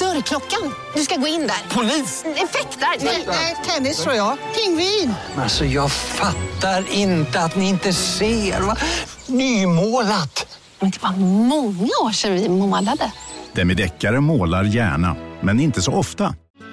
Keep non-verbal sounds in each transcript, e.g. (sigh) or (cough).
Dörrklockan. Du ska gå in där. Polis? Effektar? Nej, nej, tennis tror jag. Pingvin. Alltså jag fattar inte att ni inte ser. Va? Nymålat! Men det var många år sedan vi målade. Demideckare målar gärna, men inte så ofta.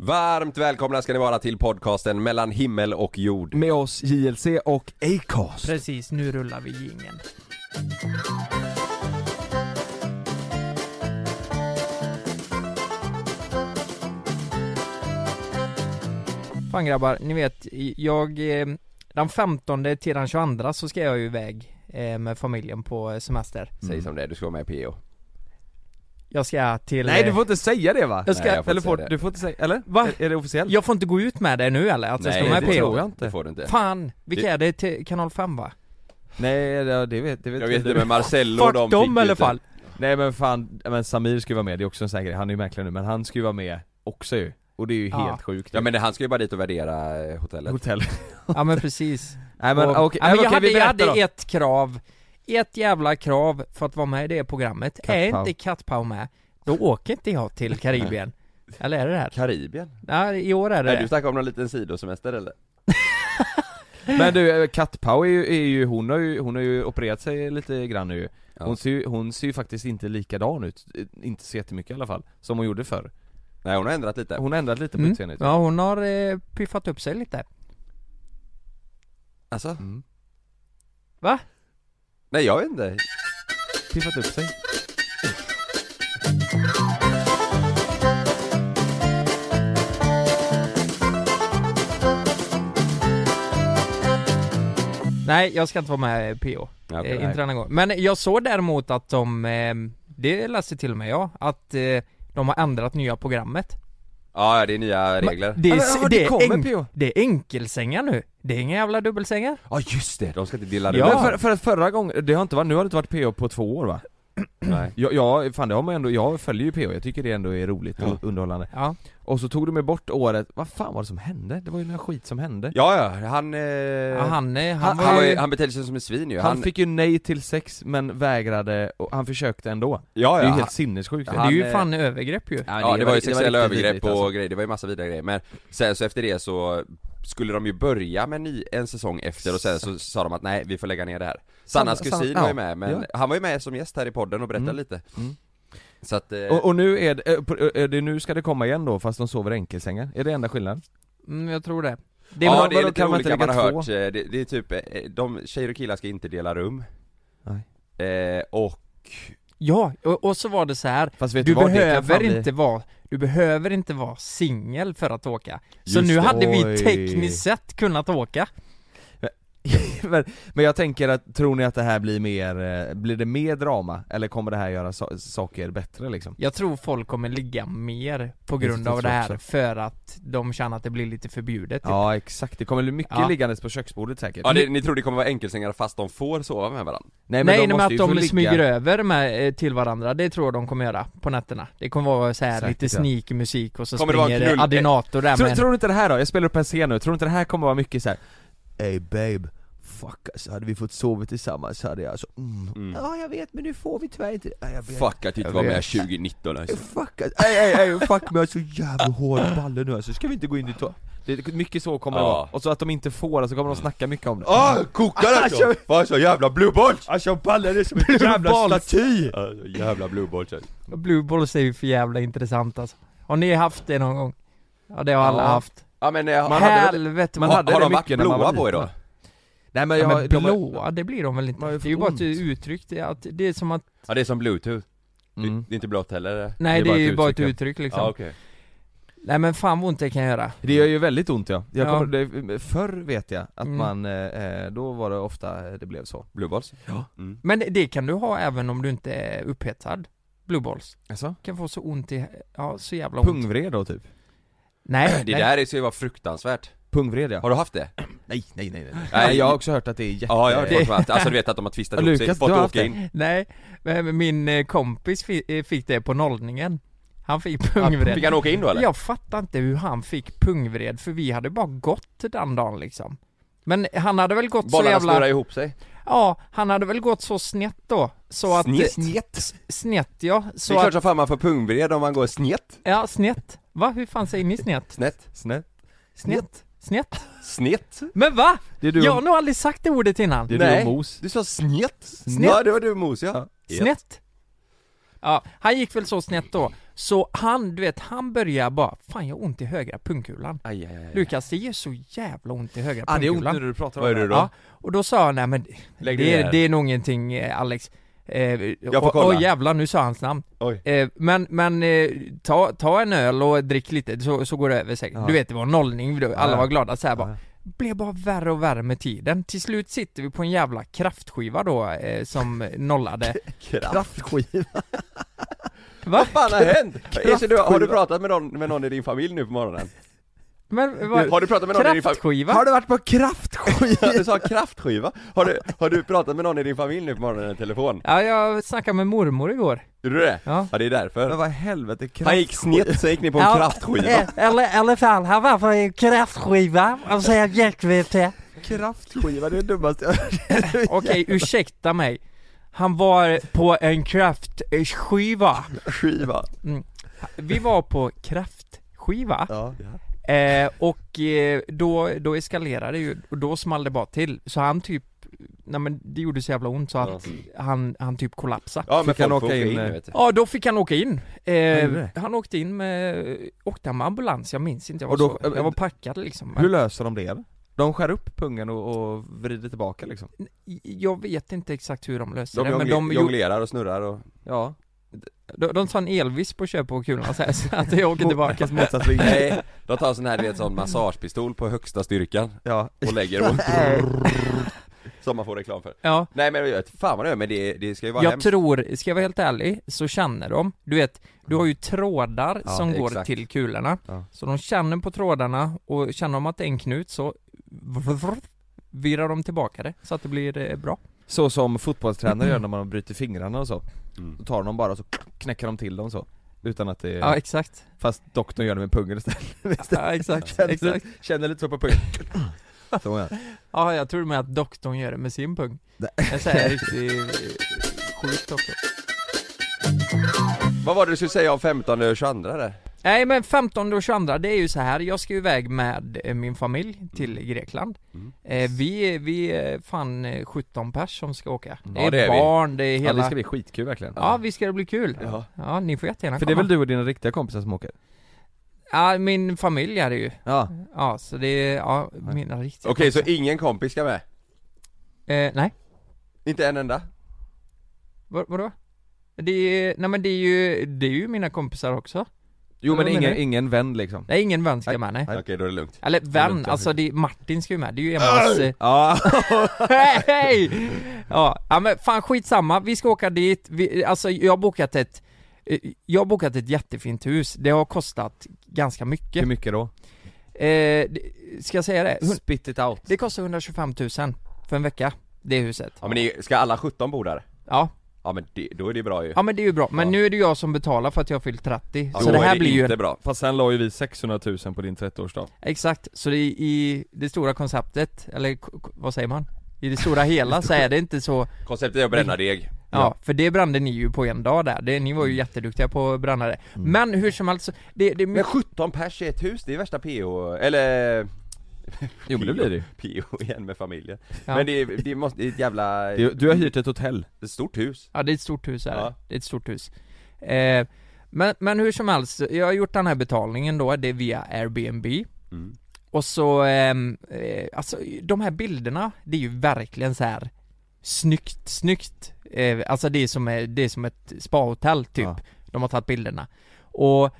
Varmt välkomna ska ni vara till podcasten mellan himmel och jord. med oss JLC och Acast. Precis, nu rullar vi jingeln. Fan grabbar, ni vet, jag, eh, den 15 till den 22 så ska jag ju iväg eh, med familjen på semester. Säg som det är, du ska vara med PO. Jag ska till... Nej du eh, får inte säga det va? jag ska, Nej, jag får eller inte får, säga det. du får inte säga, eller? Eh, Va? Är, är det officiellt? eh, Jag får inte gå ut med det nu eller? Att jag ska med det PO? tror jag inte. Det får du inte. Fan, vilka är det till kanal 5 va? Nej det, det vet, det vet, Jag vet inte inte men Marcello Fuck de dem i alla fall! Nej men fan, men Samir ska ju vara med, det är också en sån här grej, han är ju mäklare nu men han ska ju vara med också ju Och det är ju Ja. helt sjukt Ja men det- han ska ju bara dit och värdera eh, hotellet. Hotell (laughs) Ja men precis Nej men Och- okej, eh, ja, men okej, jag, hade, vi jag berättar hade då ett krav, ett jävla krav för att vara med i det programmet. är Pow. inte Kattpow med, då åker inte jag till Karibien. Eller är det det? här? Karibien? Nej, i år är det Nej du det. snackar om någon liten sidosemester eller? Men du, eh, Kat Pau är ju, är ju, hon har ju, hon har ju opererat sig lite grann nu Ja. hon, ser ju, hon ser ju faktiskt inte likadan ut, eh, inte så jättemycket i alla fall, som hon gjorde förr Nej hon har ändrat lite. Hon har ändrat lite på Mm. utseendet Ja, hon har eh, piffat upp sig lite. Alltså? Mm. Va? Nej jag vet inte. Piffat upp sig Nej, jag ska inte vara med eh, PO. Ja, okej, eh, nej. inte denna gång. Men jag såg däremot att de, eh, det läste till och med jag, att eh, de har ändrat nya programmet. Ja det är nya regler. Det är, Ja, men, ja, det det är, kommer, enk- PO. det är enkelsängar nu. Det är inga jävla dubbelsängar. Ja just det, de ska inte dela Ja. det. Men för, för att förra gången, det har inte varit, nu har det inte varit PO på två (clears throat) år va? Nej. Jag, jag, fan det har man ändå, jag följer ju PO, jag tycker det ändå är roligt och underhållande Ja. Och så tog de ju bort året, vad fan var det som hände? Det var ju någon skit som hände Ja ja, han... Eh... Ja, han, eh, han, han, var han, var ju- ju, han betedde sig som ett svin ju. han, fick ju nej till sex men vägrade, och han försökte ändå ja, ja, Det är ju han- helt sinnessjukt Det är Han, ju eh, fan övergrepp ju. Ja, det, var ju sexuella övergrepp och alltså. grejer, det var ju massa vidare grejer men sen så efter det så skulle de ju börja med ny, en säsong efter och sen så sa de att nej, vi får lägga ner det här Sannas Sanna- kusin Sanna- var ju ja, med, men ja. han var ju med som gäst här i podden och berättade Mm. lite Mm. Så att, eh, och, och nu är det, eh, på- eh, det, nu ska det komma igen då fast de sover i enkelsängar, är det enda skillnaden? Mm, jag tror det. det är ja väl- det är kan lite man inte olika man lägga har två? hört, Eh, det, det är typ, eh, de, tjejer och killar ska inte dela rum eh, och, Ja, och, och så var det så här. Fast vet Du vad, det kan behöver fan bli- inte vara, du behöver inte vara singel för att åka. Så Just nu det. hade vi Oj. tekniskt sett kunnat åka. men, men jag tänker att, tror ni att det här blir mer, eh, blir det mer drama? Eller kommer det här göra so- saker bättre liksom? Jag tror folk kommer ligga mer på Det grund tror av det jag här också. för att de känner att det blir lite förbjudet. Typ. Ja exakt, det kommer bli mycket Ja. liggandes på köksbordet säkert ja, det, ni tror det kommer vara enkelsängar fast de får sova med varandra? Nej, måste men att ju de få ligga. smyger över med, eh, till varandra, det tror jag de kommer göra på nätterna. Det kommer vara så här Säkert, lite ja. sneaky musik och så Kommer det vara en springer knull- det Adinator där Tror, med en- tror du inte det här då? Jag spelar upp en scen nu, tror du inte det här kommer vara mycket så här? Ey babe, fuck alltså, hade vi fått sova tillsammans hade jag alltså, mm. Ja jag vet men nu får vi tyvärr inte, ja, jag vet Fuck att inte Jag vara med vet. 2019 alltså. Fuck alltså, ey ey ey fuck mig, jag är så jävla hård i ballen nu alltså, ska vi inte gå in i toa? Det är mycket så kommer det Ja. vara, och så att de inte får, alltså kommer de snacka mycket om det Ah, kokar alltså! Fan så jävla blue balls! Alltså ballen är som en Balls. staty! Alltså, jävla blue balls alltså. Blue balls är ju för jävla intressant alltså. Har ni haft det någon gång? Ja det har alla Ja. haft. Ja men eh, Man hade väl- Helvete man vad... har, hade har det de varit mycket när man blåa var på er liten. då? Nej men Ja, jag, men de- blåa, det blir de väl inte? Man har ju Det är ju fått bara ont. ett uttryck, det är, att, det är som att Ja det är som bluetooth Mm. Det är inte blått heller? Nej det är, ju bara ett uttryck, uttryck liksom Ja, okej. Nej men fan vad ont det kan göra Det gör ju väldigt ont ja. Jag Ja. kommer, det, förr vet jag att Mm. man, eh, då var det ofta det blev så. Blueballs? Ja. Mm. Men det kan du ha även om du inte är upphetsad Blueballs Alltså? kan få så ont i, ja så jävla ont Pungvred då typ? Nej, Det nej. där är- ska ju vara fruktansvärt. Pungvred ja. Har du haft det? Nej, nej, nej, nej. Nej. nej jag har också hört att det är jätte... Ja, jag har det... hört att, alltså du vet att de har tvistat Ja, ihop sig, Lukas, fått du har åka haft in Nej, men min eh, kompis fi- eh, fick det på nollningen Han fick pungvred Fick han åka in då eller? Jag fattar inte hur han fick pungvred för vi hade bara gått den dagen liksom Men han hade väl gått så Bollarna jävla... snurrar ihop sig Ja, han hade väl gått så snett då så att... Snett? S- Snett ja, Det är så klart att... som fan man får pungvred om man går snett Ja, snett. Va? Hur fan säger ni snett? Snett? Snett. Snett? Snett? Snett? Men va? Det är du, Jag har nog aldrig sagt det ordet innan. det är Nej. du och Mos. Du sa snett? Snett. Ja det var du Mos ja, Snett? Ja, han gick väl så snett då. Så han, du vet, han börjar bara, fan jag har ont i högra pungkulan. Aj, aj, aj, aj. Lukas, det gör så jävla ont i högra Ah, det är ont pungkulan. när du pratar om Vad är det. du då? Ja, och då sa han, nej men Lägg det dig är, ner. det är nog ingenting eh, Alex eh, får och- kolla. Oj jävlar, nu sa hans namn. Oj. Eh, men men eh, ta, ta en öl och drick lite så, så går det över säkert. Ja. Du vet det var nollning, då, alla Ja. var glada så här bara. Ja. Blev bara värre och värre med tiden. Till slut sitter vi på en jävla kraftskiva då eh, som (laughs) nollade. Kraftskiva. Va? Vad fan har hänt? Är så du, har du pratat med någon, med någon i din familj nu på morgonen? Men Har vad? du pratat med någon i din familj? Kraftskiva? Har du varit på (laughs) kraftskiva? Du sa kraftskiva? Har du, har du pratat med någon i din familj nu på morgonen i telefon? Ja, jag snackade med mormor igår. Gjorde du det? Ja. det är Men därför vad i helvete, kraft... Han gick snett, sen gick ni på en Ja. kraftskiva (laughs) Eller, eller fan, han var på en kraftskiva och så hjälpte kraftskiva, det är det dummaste jag hört. Okej, ursäkta mig. Han var på en kraftskiva. Skiva Vi var på kraftskiva. Ja. Eh, och eh, då, då eskalerade det ju, och då small det bara till. Så han typ, nej men det gjorde så jävla ont så att han, han typ kollapsade. Ja men Fick han folk får åka åka in, in eh, vet du Ja, då fick han åka in. Eh, gjorde han åkte in med, åkte han med ambulans? Jag minns inte, jag var, Och då- så, jag var packad liksom. Hur löser de det? De skär upp pungen och, och vrider tillbaka liksom? Jag vet inte exakt hur de löste De, det, men jongle- de, gjorde- jonglerar och snurrar och Ja. de, de sa en Elvis på köp på kulan så, här, så att jag åker tillbaka. (laughs) Fast motsatsvinkel. Nej, de tar sån här du vet sån massagepistol på högsta styrkan Ja. och lägger och Som man får reklam för Ja. Nej men jag vet, fan vad det är, men det, det ska ju vara Jag hemskt. tror, ska jag vara helt ärlig, så känner de, du vet, du har ju trådar Ja, som går exakt. till kulorna. Ja. Så de känner på trådarna och känner de att det är en knut så virrar de tillbaka det så att det blir eh, bra. Så som fotbollstränare gör när man bryter fingrarna och så. Mm. Då tar de bara och så knäcker de till dem så. Utan att det... Ja, exakt. Fast doktorn gör det med pungen istället. (laughs) Ja, exakt. Känner, exakt. känner lite så på (clears throat) pungen. Så ja. Ja, jag tror med att doktorn gör det med sin pung. Nej. Jag säger riktigt eh, sjukt doktor. Vad var det du skulle säga om 15 och 22 där? Nej men 15 och 22, det är ju så här. jag ska ju iväg med eh, min familj till Grekland Mm. eh, Vi, vi är fan eh, 17 pers som ska åka Det Mm. Ja, är det är vi. barn, det är ja, hela det ska bli skitkul verkligen. Ja visst ska det bli kul? Ja. Ja, ni får jättegärna För det komma är väl du och dina riktiga kompisar som åker? Ja, min familj är det ju Ja. Ja, så det är, ja, mina riktiga Okej, så ingen kompis ska med? eh, Nej, Inte en enda? Vad- vadå? Det är, nej men det är ju, det är ju mina kompisar också Jo Vad men menar ingen, du? ingen vän liksom. Nej ingen vän ska med nej Okej, då är det lugnt Eller vän, lugnt, jag alltså det är, Martin ska ju med, det är ju Emmas eh, Ja. Hej! Ja, ja, men fan skitsamma, vi ska åka dit, vi, alltså jag har bokat ett eh, jag har bokat ett jättefint hus, det har kostat ganska mycket. Hur mycket då? Eh, det- ska jag säga det? Hun- Spit it out. Det kostar 125 000 för en vecka, det huset. Ja men ni, ska alla 17 bo där? Ja, Ja men det, då är det bra ju ja men det är ju bra. Men Ja. nu är det jag som betalar för att jag har fyllt 30, Ja, så då det är här blir ju... inte bra Fast sen la ju vi 600 000 på din 30-årsdag. Exakt, så det är i det stora konceptet, eller k- k- vad säger man? I det stora hela så är det inte så Konceptet är att bränna deg Ja, för det brände ni ju på en dag där, det, ni var ju jätteduktiga på att bränna det Men hur som helst, så- det, det är Men mycket, 17 pers i ett hus, det är värsta PO, eller... Jo, men (laughs) det blir det ju. PO igen med familjen Ja. Men det, är- det, måste, det är ett jävla... Du, du har hyrt ett hotell. Ett stort hus ja det är ett stort hus här, Ja. det är ett stort hus eh, men, men hur som helst, jag har gjort den här betalningen då, det är via Airbnb Mm. Och så, ehm, eh, alltså de här bilderna, det är ju verkligen så här snyggt, snyggt eh, alltså det är som, är- det är som ett spahotell typ, Ja. de har tagit bilderna. Och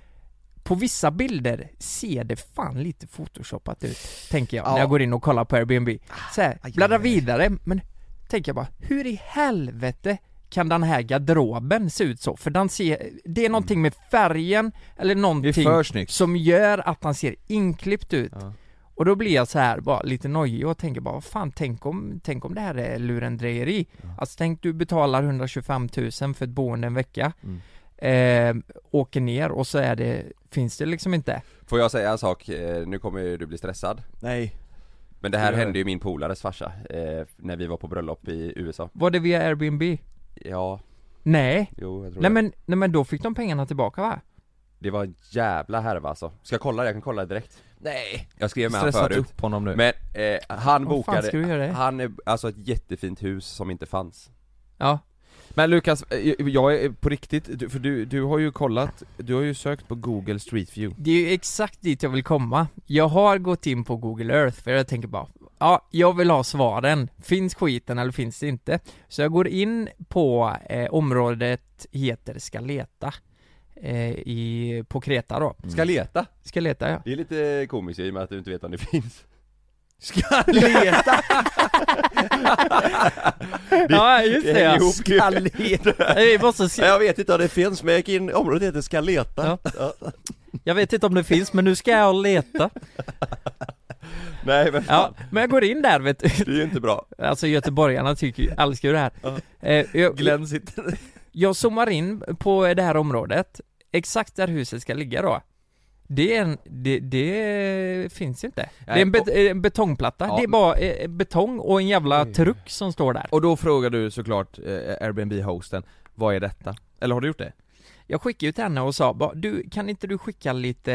på vissa bilder ser det fan lite photoshopat ut, tänker jag, när jag går in och kollar på Airbnb. Ah, Så här, bläddrar vidare, men tänker jag bara, hur i helvete kan den här garderoben se ut så? För den ser, det är någonting med färgen, eller Mm. Det är någonting för snyggt. som gör att han ser inklippt ut. Och då blir jag så här bara lite nojig och tänker bara, vad fan, tänk om, tänk om det här är lurendrejeri? Alltså tänk du betalar 125 000 för ett boende en vecka, Mm. eh, åker ner och så är det, finns det liksom inte. Får jag säga en sak? Eh, Nu kommer ju du bli stressad Nej. Men det här Gör det. hände ju min polares farsa eh, När vi var på bröllop i USA Var det via Airbnb? Ja, Nej. jo jag tror Nej det men, nej men då fick de pengarna tillbaka va? Det var en jävla härva alltså Ska jag kolla det? Jag kan kolla det direkt Nej. Jag skrev med honom Stressat förut upp honom nu. Men eh, han Vad fan ska du göra bokade, det? han är alltså ett jättefint hus som inte fanns Ja. Men Lukas, eh, jag är på riktigt, du- för du, du har ju kollat, du har ju sökt på google street view Det är ju exakt dit jag vill komma. Jag har gått in på Google Earth för jag tänker bara, ja, jag vill ha svaren. Finns skiten eller finns det inte? Så jag går in på eh, området heter Skaleta. Eh, i, på Kreta då. Ska leta? (laughs) Skaleta ja. Det är lite komiskt i och med att du inte vet om det (laughs) finns Ska leta! (laughs) ja, just det ja. Ska (laughs) leta! Nej, Vi måste se. Jag vet inte om det finns men jag gick in, området heter Ska leta Ja. Jag vet inte om det finns men nu ska jag leta. Nej men fan, Ja, men jag går in där vet du. det är ju inte bra Alltså göteborgarna tycker ju, älskar ju det här. Eh, jag, Glenn sitter... Jag zoomar in på det här området, exakt där huset ska ligga då. Det, är en, det, det finns inte. det är en, Nej, bet, en betongplatta, Ja. det är bara eh, betong och en jävla truck som står där. (laughs) Och då frågar du såklart eh, Airbnb-hosten, vad är detta? Eller har du gjort det? Jag skickade ju till henne och sa bara, du, kan inte du skicka lite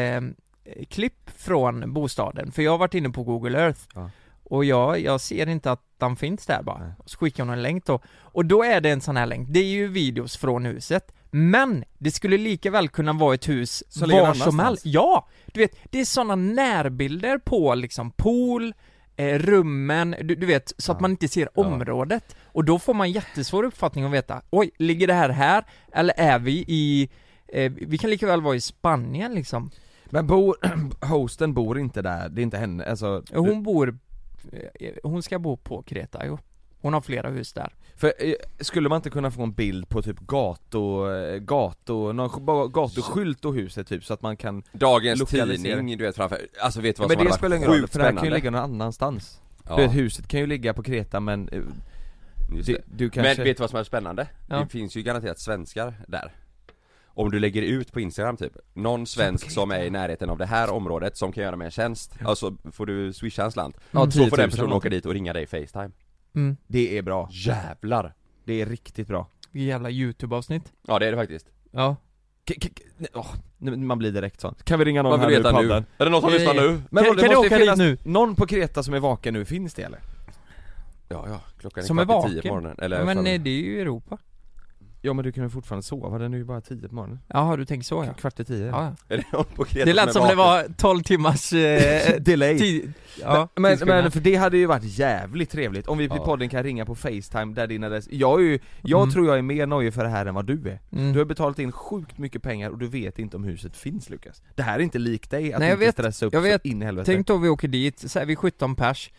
eh, klipp från bostaden? För jag har varit inne på Google Earth Ja. och jag, jag ser inte att den finns där bara. Nej. Så skickar hon en länk då. Och då är det en sån här länk, det är ju videos från huset. Men det skulle lika väl kunna vara ett hus Som ligger var som annanstans. helst. Ja! Du vet, det är såna närbilder på liksom pool, eh, rummen, du, du vet, så att man inte ser området. Och då får man jättesvår uppfattning att veta, oj, ligger det här här? Eller är vi i, eh, vi kan lika väl vara i Spanien liksom. Men bor, (clears throat) hosten bor inte där, det är inte henne, alltså Hon bor, eh, hon ska bo på Kreta jo. Hon har flera hus där. För eh, skulle man inte kunna få en bild på typ gato, eh, gato, någon sk- bara gatuskylt och huset typ så att man kan Dagens Lokalisering. tidning, du vet framför, alltså vet du vad ja, Men som det hade spelar varit ingen roll, sjukt för det här kan ju spännande? ligga någon annanstans Ja, du vet, Huset kan ju ligga på Kreta men eh, just du, det. du kanske... Men vet du vad som är spännande? Ja. Det finns ju garanterat svenskar där Om du lägger ut på instagram typ, någon svensk som är i närheten av det här området som kan göra mig en tjänst, alltså får du swisha en slant ja, Så 10 får 000 den personen åka dit och ringa dig i facetime Mm. Det är bra, Jävlar! det är riktigt bra Vilket jävla youtube-avsnitt. Ja det är det faktiskt Ja. K- k- k- nej, åh, nu- man blir direkt sån. Kan vi ringa någon Vad här vill du veta nu i nu? podden? Är det någon som Ja, lyssnar ja, ja. nu? Men Eh, Kan- vadå, kan det du måste åka ju dit finnas nu? någon på Kreta som är vaken nu, finns det eller? Ja, ja, klockan är Som är kvart i tio på vaken. morgonen, eller Men fan- eh, det är ju Europa. Ja men du kan ju fortfarande sova, den är ju bara 10 på morgonen Jaha, du tänker så ja. Kvart i 10 ja. Är det någon på Kreta Det lät som är det vaken? var 12 timmars eh, (laughs) Delay tid. Ja, Men, men tidsskillnad. för det hade ju varit jävligt trevligt om vi i Ja. podden kan ringa på facetime där din adress, jag är ju, jag Mm. tror jag är mer nojig för det här än vad du är Mm. Du har betalat in sjukt mycket pengar och du vet inte om huset finns Lukas Det här är inte likt dig, att Nej, jag inte vet. stressa upp Jag så vet. in i helvete Tänk då vi åker dit, så är vi 17 pers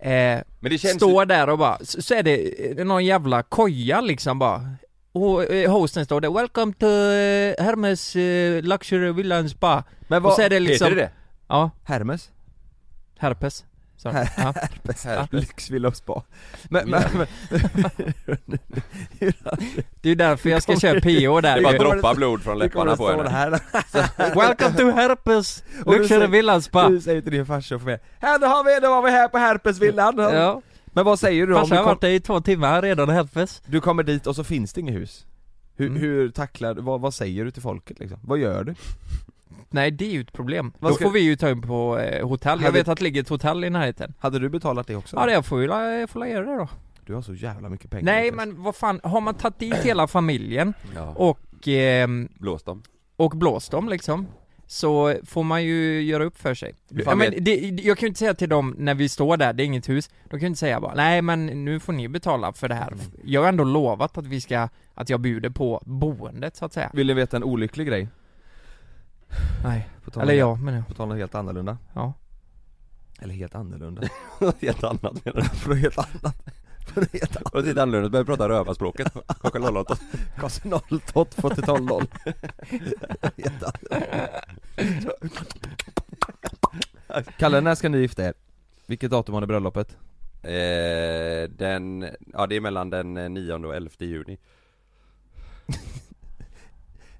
eh, Men det känns Står där och bara, så så är det eh, någon jävla koja liksom bara och eh, hosten står där 'Welcome to eh, Hermes eh, Luxury Villa and Spa' Men Och så är det liksom Heter det det? Ja, Hermes? herpes Sorry. Ja. (laughs) Lyxvilla och spa Men, men, (laughs) men (laughs) Det är ju därför jag ska köra PO Det där är bara ju. dro- droppar blod från det kommer läpparna att på stå det henne (laughs) här Welcome to Herpes Och du Luxury säger- Villa and Spa Du säger till din farsa och får med Här då har vi, då var vi här på Herpesvillan Ja, Men vad säger du om farsan du, har kom, varit där i två timmar redan herpes du kommer dit och så finns det inget hus? Hur, Mm. hur tacklar du, vad, vad säger du till folket liksom? Vad gör du? Nej det är ju ett problem, Vad då ska- får vi ju ta in på eh, hotell, jag Hade- vet att det ligger ett hotell i närheten Hade du betalat det också? Ja det får vi la- jag får la göra det då Du har så jävla mycket pengar Nej Lukas. men vad fan, har man tagit dit hela familjen Ja, och, ehm, blåst dem och blåst dem liksom så får man ju göra upp för sig. Ja, men det, jag kan ju inte säga till dem när vi står där, det är inget hus, de kan ju inte säga bara nej men nu får ni betala för det här. Mm. Jag har ändå lovat att vi ska, att jag bjuder på boendet så att säga. Vill ni veta en olycklig grej? Nej, På tal om- eller ja men ja. På tal om helt annorlunda Ja. Eller helt annorlunda (laughs) Något helt annat menar du? Från helt annat Från helt annat Något helt annorlunda, börjar prata rövarspråket klockan 08 Kostar 0 tott 40 0 (laughs) Helt annorlunda. (laughs) Kalle, när ska ni gifta er? Vilket datum har ni bröllopet? eh, Den, ja det är mellan den eh, 9 och 11 (laughs) juni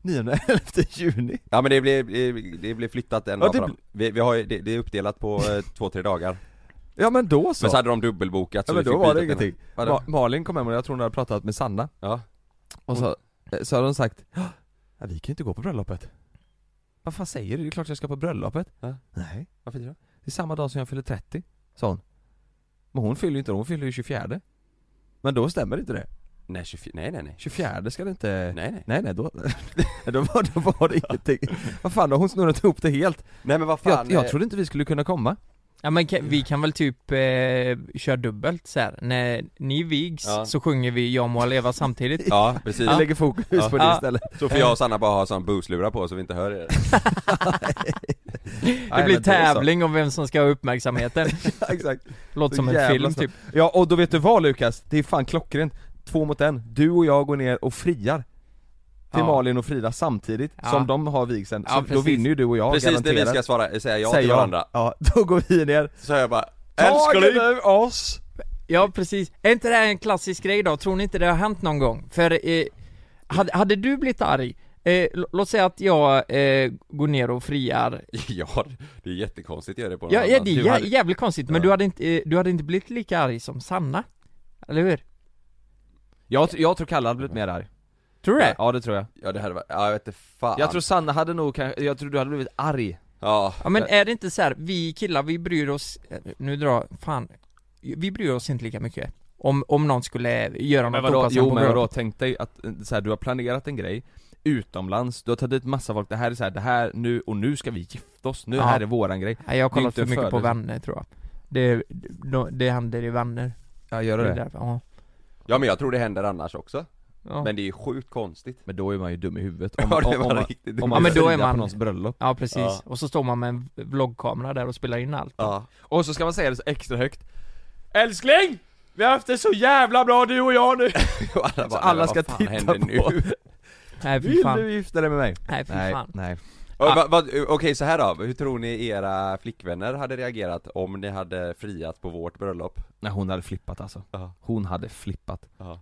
9-11 juni Ja men det blir, det- det blir flyttat en Ja, dag det fram blir- vi, vi har ju, det, det är uppdelat på eh, två, tre (laughs) dagar Ja men då så! Men så hade de dubbelbokat så ja men vi då fick var det byta till- ingenting Vadå? Ma- Malin kom hem och jag tror hon hade pratat med Sanna Ja, Och så, eh, så hade hon sagt "Ja, vi kan ju inte gå på bröllopet Vad fan säger du? Det är klart jag ska på bröllopet Ja. Nej, varför inte då? det är samma dag som jag fyller 30, sa hon Men hon fyller ju inte, hon fyller ju 24 Men då stämmer inte det, Nej, 24, nej nej nej 24 ska det inte Nej nej Nej nej, då, (laughs) då, var, då var det ingenting. Vad fan, då har hon snurrat ihop det helt. Nej men vad fan Jag, jag eh, trodde inte vi skulle kunna komma. Ja men kan, Mm. vi kan väl typ eh, köra dubbelt så här. när ni vigs Ja. så sjunger vi 'Jag må leva' (laughs) samtidigt Ja precis, Vi lägger fokus Ja. på det Ja. istället. (laughs) så får jag och Sanna bara ha sån booslurar på så vi inte hör er Det blir Nej, men då så. tävling om vem som ska ha (laughs) uppmärksamheten, Exakt. låter Så som en jävla film snabbt. typ Ja och då vet du vad Lukas, det är fan klockrent. Två mot en, du och jag går ner och friar. Till Ja. Malin och Frida samtidigt Ja. som de har vigseln. Ja, Så då precis. vinner ju du och jag Precis när garanterat. vi ska svara, eh, säga ja Säger till jag. varandra Ja, (laughs) då går vi ner. Så hör jag bara Tagen Älskling! (laughs) över oss! Ja precis, är inte det här en klassisk grej då? Tror ni inte det har hänt någon gång? För, eh, hade, hade du blivit arg? Eh, l- låt säga att jag eh, går ner och friar Ja, det är jättekonstigt att göra det på någon Ja, ja annan. det är Du jä- hade- jävligt konstigt, men Ja. du hade, inte, eh, du hade inte blivit lika arg som Sanna? Eller hur? Jag, tr- jag tror Kalle hade blivit mer arg. Tror du det? Ja det tror jag. Ja det hade varit, ja jag vet inte fan Jag tror Sanna hade nog kanske, jag tror du hade blivit arg. Ja, Ja men är det inte så här, vi killar vi bryr oss, eh, nu drar, fan, vi bryr oss inte lika mycket om, om någon skulle göra Men något vadå, opassande jo på men bröllop. vadå, tänk dig att eh, så här, du har planerat en grej utomlands, du har tagit dit massa folk, det här är så här, det här nu och nu ska vi gifta oss, nu Ja. här är våran grej. Nej jag har Det är kollat inte för mycket på födelse. vänner tror jag Det, det, det händer i vänner Ja gör du är det? därför, ja. ja men jag tror det händer annars också Ja. Men det är ju sjukt konstigt Men då är man ju dum (laughs) i huvudet om, Ja, om, det om, var man- riktigt om dumt. man Ja, men då är friar på man- någons bröllop. ja precis, Ja. och så står man med en vloggkamera där och spelar in allt Ja, Och så ska man säga det så extra högt Älskling! Vi har haft det så jävla bra du (laughs) och jag nu! Och alla, Så bara, alla "Nej, ska vad fan titta händer på. Nej fy (laughs) Vill fan, du gifta dig med mig? nej fy Nej, fan nej. Ja, va- va- Okej så här då, hur tror ni era flickvänner hade reagerat om ni hade friat på vårt bröllop? Nej hon hade flippat alltså. Ja. Hon hade flippat. Ja.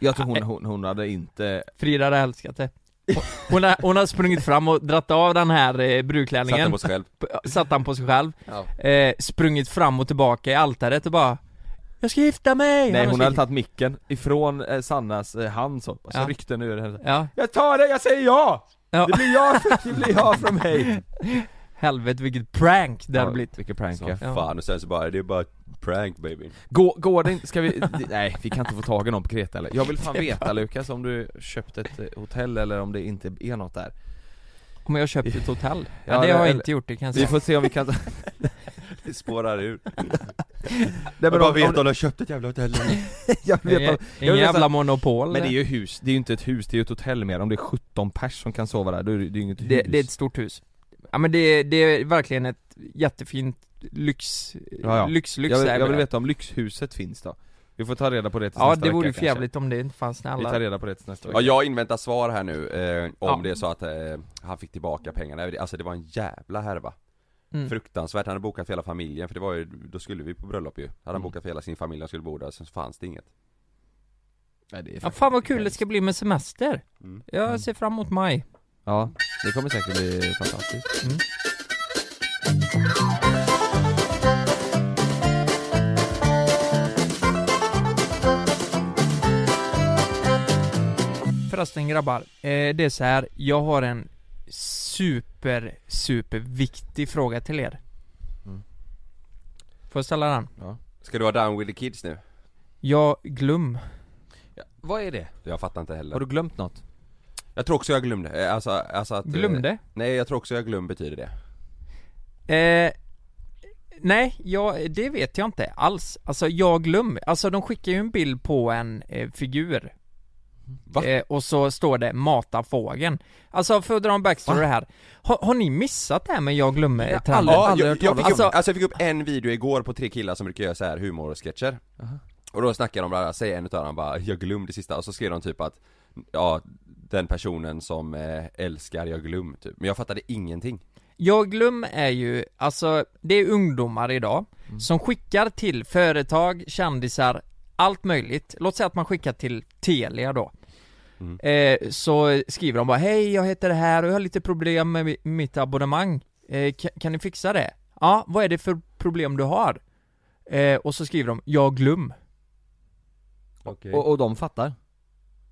Jag tror hon, hon, hon hade inte Frida hade älskat det Hon- hon har, hon har sprungit fram och dratt av den här eh, Satt den brudklänningen på sig själv? satt han på sig själv, Ja. eh, sprungit fram och tillbaka i altaret och bara Jag ska gifta mig! Nej Han hon har hade skrikit. tagit micken ifrån eh, Sannas eh, hand så, och så Ja. ryckte den ur henne Ja, Jag tar det, jag säger ja! Ja. Det blir jag, det blir jag från mig! helvete vilket prank det hade Ja, blivit Vilken prank Som ja. Ja. fan, och sen så bara, det är bara prank baby Gå, Går det inte, ska vi, nej vi kan inte få tag i någon på Kreta eller? Jag vill fan veta Lukas om du köpt ett eh, hotell eller om det inte är något där Om jag köpt ett hotell? Ja, Ja, det har jag eller- inte gjort, det kan jag Vi säga får se om vi kan Det spårar ur (laughs) Nej, Jag men, bara om, vet om, du har köpt ett jävla hotell (laughs) jag Det vet är om, Ingen jag vill jävla nästan- monopol men det är ju hus, det är ju inte ett hus, det är ju ett hotell mer Om det är 17 pers som kan sova där, då är det, det är ju inget det, hus det är ett stort hus Ja men det, det är verkligen ett jättefint lyx, Ja, ja. lyxlyx jag, vill, där jag vill överallt. veta om lyxhuset finns då Vi får ta reda på det till Ja nästa det vore ju vecka, för jävligt om det inte fanns kanske. alla Vi tar reda på det till nästa Ja vecka jag inväntar svar här nu, eh, om Ja. det är så att eh, han fick tillbaka pengarna, alltså det var en jävla härva Mm. Fruktansvärt, han hade bokat för hela familjen för det var ju, då skulle vi på bröllop ju Hade han Mm. bokat för hela sin familj, han skulle bo där, sen så fanns det inget Nej, det är Ja faktiskt fan vad kul det hemskt. ska bli med semester Mm. Jag ser fram emot maj Ja, det kommer säkert bli fantastiskt. Mm. Förresten grabbar, eh, det är så här. jag har en super, super viktig fråga till er Mm. Får jag ställa den? Ska du ha down with the kids nu? Jag glöm Vad är det? Jag fattar inte heller Har du glömt något? Jag tror också jag glömde, eh, alltså, alltså att... eh, Glömde? Nej jag tror också jag glöm betyder det. Eh, nej, ja, det vet jag inte alls. Alltså jag glömmer, alltså de skickar ju en bild på en eh, figur. Va? Eh, och så står det 'Mata fågeln' Alltså för att dra en backstory här. Har, har ni missat det här med jag glömmer Ja, trenden? alla- Ja, aldrig jag, hört jag, talas fick om. upp, alltså jag fick upp en video igår på tre killar som brukar göra så här humorsketcher Och då snackar de bara, säger en utav dem bara 'Jag glömde det sista' och så skrev de typ att Ja, den personen som eh, älskar jag glöm typ Men jag fattade ingenting Jag glöm är ju, alltså det är ungdomar idag som skickar till företag, kändisar, allt möjligt. Låt säga att man skickar till Telia då. Eh, så skriver de bara Hej, jag heter det här och jag har lite problem med mi- mitt abonnemang. Eh, kan, kan ni fixa det? Ja, vad är det för problem du har? Eh, och så skriver de Jag glöm. okay. Och, och de fattar?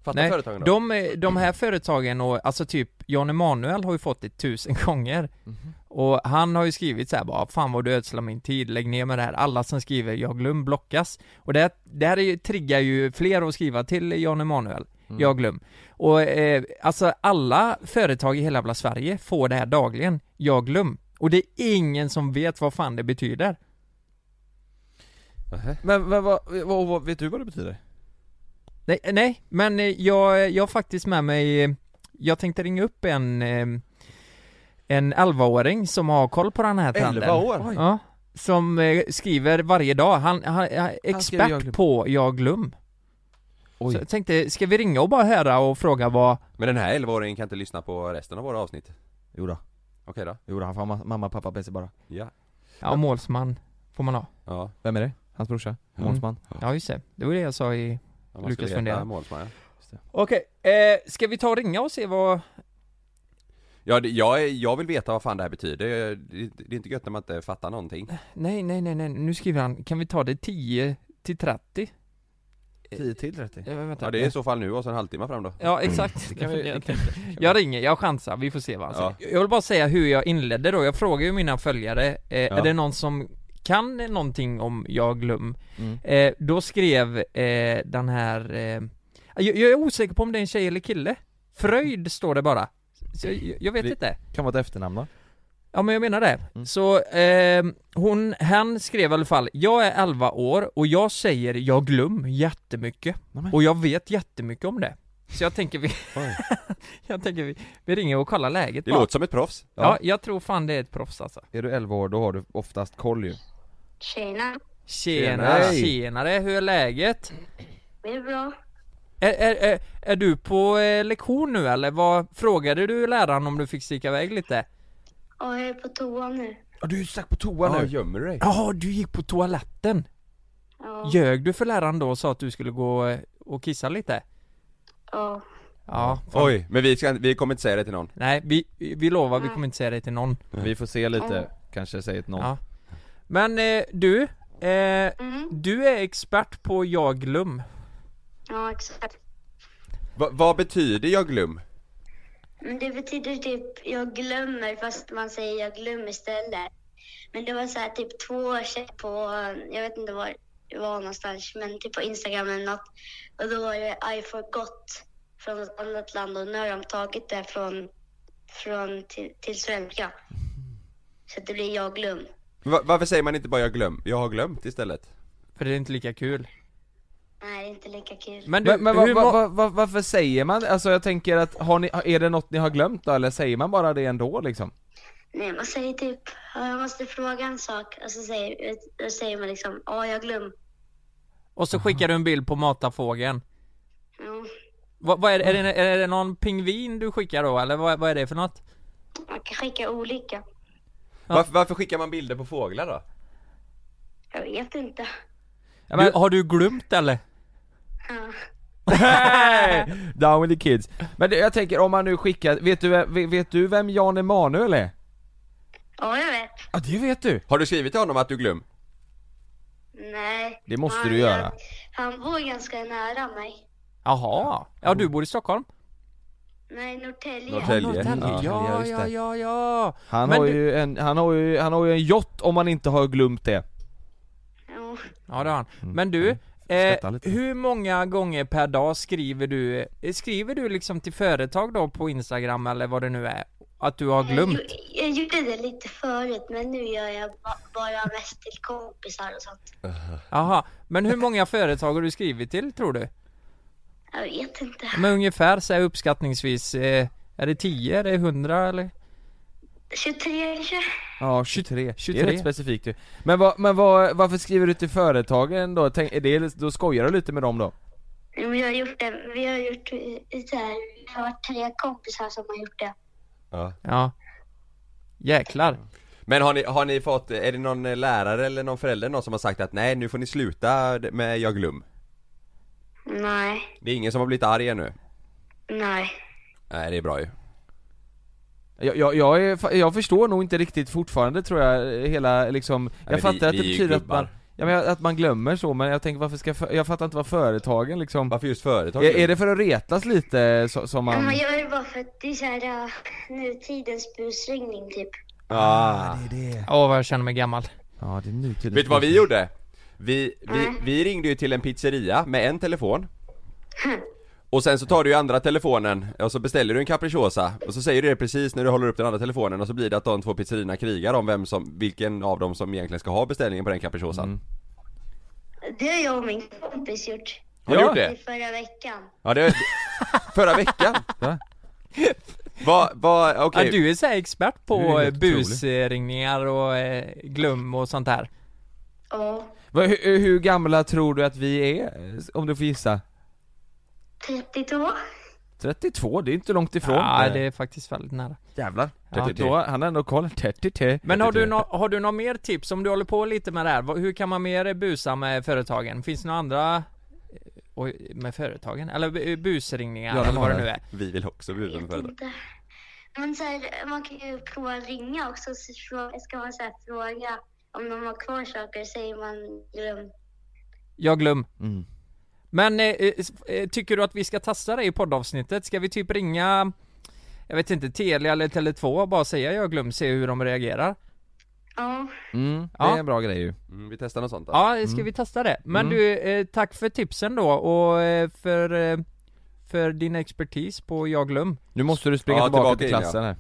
Fattar Nej, företagen då? de, eh, de här företagen och alltså typ Jan Emanuel har ju fått det tusen (laughs) gånger Mhm. Och han har ju skrivit så här bara 'Fan vad du ödslar min tid, lägg ner med det här' Alla som skriver 'Jag glöm' blockas Och det, här- det här är ju, triggar ju fler att skriva till Jan Emanuel Mm. Jag glöm Och eh, alltså alla företag i hela jävla Sverige får det här dagligen 'Jag glöm' Och det är ingen som vet vad fan det betyder Nähä. Men, men vad, vad, vad, vet du vad det betyder? Nej, nej men eh, jag, jag har faktiskt med mig, eh, jag tänkte ringa upp en, eh, en 11-åring som har koll på den här trenden. 11 år? Ja, som eh, skriver varje dag, han, han, han är expert jag glöm. på jag glöm. Oj. Så jag tänkte, ska vi ringa och bara höra och fråga vad, Men den här 11-åringen kan inte lyssna på resten av våra avsnitt Jo då, Okej då? jo då, han får ha ma- mamma, pappa, bäst bara Ja ja målsman får man ha? Ja, Vem är det? Hans brorsa? Mm. Målsman? Ja just det, det var det jag sa i om man Lukas skulle heta funderar. målsman, ja. Okej, eh, ska vi ta och ringa och se vad Ja, det, jag, är- jag vill veta vad fan det här betyder, Jag- det, det är inte gött när man inte fattar någonting Nej nej nej nej, nu skriver han, kan vi ta det 10 till 30? 10 till 30 Eh, vänta. Ja det är i så fall nu och så en halvtimme fram då Ja (laughs) exakt, kan vi- det (laughs) Jag ringer, jag chansar, vi får se vad han Ja. säger Jag vill bara säga hur jag inledde då, jag frågar ju mina följare eh, Är det någon som kan någonting om jag glöm? Mm. Eh, då skrev eh, den här eh, jag, jag är osäker på om det är en tjej eller kille Fröjd står det bara Så jag, jag vet Vi- inte (laughs) Kan vara ett efternamn va? Ja men jag menar det. Mm. Så eh, hon, han skrev i alla fall, jag är 11 år och jag säger jag glöm jättemycket. Nämen. Och jag vet jättemycket om det. Så jag tänker vi, (laughs) jag tänker vi, vi ringer och kollar läget Det bara. låter som ett proffs ja. jag tror fan det är ett proffs alltså. Är du 11 år då har du oftast koll ju Tjena, Tjenare, Tjena. tjenare, hur är läget? det är bra. Är, är, är, är du på eh, lektion nu eller? Vad, frågade du läraren om du fick sticka iväg lite? Ja, jag är på toa nu. Ja du stack på toa Ja, gömmer du dig? Jaha, du gick på toaletten? Ja, Ljög du för läraren då och sa att du skulle gå eh, och kissa lite? ja. Ja, Oj, men vi, ska, vi kommer inte säga det till någon Nej, vi, vi lovar, vi kommer inte säga det till någon. Vi får se lite, kanske säger ett någon Mm. Ja. Men eh, du, eh, Mm. du är expert på jag glöm. ja exakt. Va, vad betyder jag glöm? Men det betyder typ jag glömmer fast man säger jag glömmer istället. Men det var så här typ två år sedan på, jag vet inte var det var någonstans, men typ på Instagram eller något. Och då var det I forgot från ett annat land och nu har de tagit det från, från till, till svenska. Så att det blir jag glöm. Va, varför säger man inte bara jag glöm? Jag har glömt istället För det är inte lika kul. Nej, det är inte lika kul. Men du, Men, men va, hur va, må- va, va, varför säger man Alltså jag tänker att, har ni, är det något ni har glömt då eller säger man bara det ändå liksom? Nej, man säger typ, "Ja, jag måste fråga en sak. Och så säger, då säger man liksom, ja, jag glöm. Och så skickar du en bild på matafågeln. Ja, Vad, vad är, det- är, det, är det någon pingvin du skickar då, eller vad, vad är det för något? man kan skicka olika. varför, varför skickar man bilder på fåglar då? Jag vet inte. Ja, men- Du, har du glömt eller? Ja. Nej! Down with the kids. Men det, jag tänker om man nu skickar, vet du, ve- vet du vem Jan Emanuel är? ja, jag vet. Ja det vet du! Har du skrivit till honom att du glöm? Nej. Det måste han, du göra. Han bor ganska nära mig. Jaha, ja du bor i Stockholm? Nej, Norrtälje. Norrtälje. Ja, Ja, ja, just ja, det. ja, ja. Han Men har, du- ju en, han, har ju, han har ju en jott om man inte har glömt det. Ja. Mm. Ja det har han. Men du, Eh, hur många gånger per dag skriver du, eh, skriver du liksom till företag då på Instagram eller vad det nu är? Att du har glömt? Jag, jag gjorde det lite förut, men nu gör jag ba- bara mest till kompisar och sånt. Jaha, men hur många företag har du skrivit till tror du? Jag vet inte. Men ungefär så här uppskattningsvis, eh, är det 10, är det 100 eller? 23 kanske? Ja, 23. 23. Det 23. är rätt specifikt ju. Men, vad, men vad, varför skriver du till företagen då? Tänk, är det, då skojar du lite med dem då? Jo, men Jag har gjort det. Vi har gjort eh, så här. Jag har varit tre kompisar som har gjort det. Ja. Ja Jäklar Men har ni, har ni fått, är det någon eh, lärare eller någon förälder någon som har sagt att nej nu får ni sluta med jag glöm? Nej, Det är ingen som har blivit arg ännu? nej. Nej det är bra ju Jag, jag, jag, är, fa- jag förstår nog inte riktigt fortfarande tror jag, hela liksom Jag men vi- fattar att vi det är ju betyder att man gubbar. Ja, men jag- att man glömmer så, men jag tänker varför ska, för- jag fattar inte vad företagen liksom Varför just företag? är, är det för att retas lite så, som Ja, man... man gör det bara för att det är så här uh, nutidens busringning typ. Ah. Åh vad jag känner mig gammal Ja, det är nutidens Vet du vad vi gjorde? Vi, vi, vi ringde ju till en pizzeria med en telefon Och sen så tar du ju andra telefonen och så beställer du en capricciosa Och så säger du det precis när du håller upp den andra telefonen och så blir det att de två pizzerierna krigar om vem som, vilken av dem som egentligen ska ha beställningen på den capricciosan Det har jag och min kompis gjort. Har du gjort det? I förra veckan. Ja det, förra veckan? Va? Vad, vad, okej ja, Du är så här expert Du är på helt eh, busringningar och eh, glöm och sånt där Ja, Vad- hur, hur gamla tror du att vi är? Om du får gissa? 32. 32, det är inte långt ifrån Eh, Ja det är faktiskt väldigt nära Jävlar, Ja. då, han har ändå koll, 33 Men har du, nå- har du några mer tips om du håller på lite med det här? Vad- Hur kan man mer busa med företagen? Finns det några andra eh, oj, med företagen? Eller bu- busringningar Ja, de eller vad har det det. nu är? Vi vill också bjuda på Vet företag inte. Men så här, man kan ju prova att ringa också. Så frå- ska man så här, fråga om de har kvar saker säger man glömt. Jag glöm. Mm. Men eh, eh, s- eh, tycker du att vi ska testa det i poddavsnittet? Ska vi typ ringa, jag vet inte, Telia eller Tele2 och bara säga jag glöm, se hur de reagerar? Ja, Mm, det Ja. är en bra grej ju mm, Vi testar något sånt då. Ja, ska vi testa det? Men du, eh, tack för tipsen då och eh, för, eh, för din expertis på jag glöm. Nu måste du springa Ja, tillbaka, tillbaka till in, ja. klassen här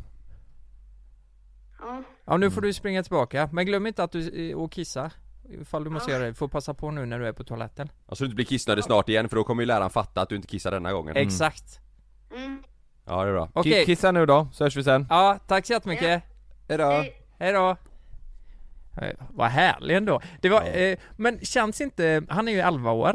ja. Ja, nu får du springa tillbaka. Men glöm inte att du, eh, och kissa. Ifall du måste göra det, du får passa på nu när du är på toaletten. Och så Alltså, du inte blir kissnödig snart igen för då kommer ju läraren fatta att du inte kissar denna gången Exakt. Mm. Ja det är bra Okej. Ki- Kissa nu då, så hörs vi sen Ja, tack så jättemycket. Hejdå! Hej då. Eh, Vad härlig ändå. Det var, eh, men känns inte, han är ju 11 år.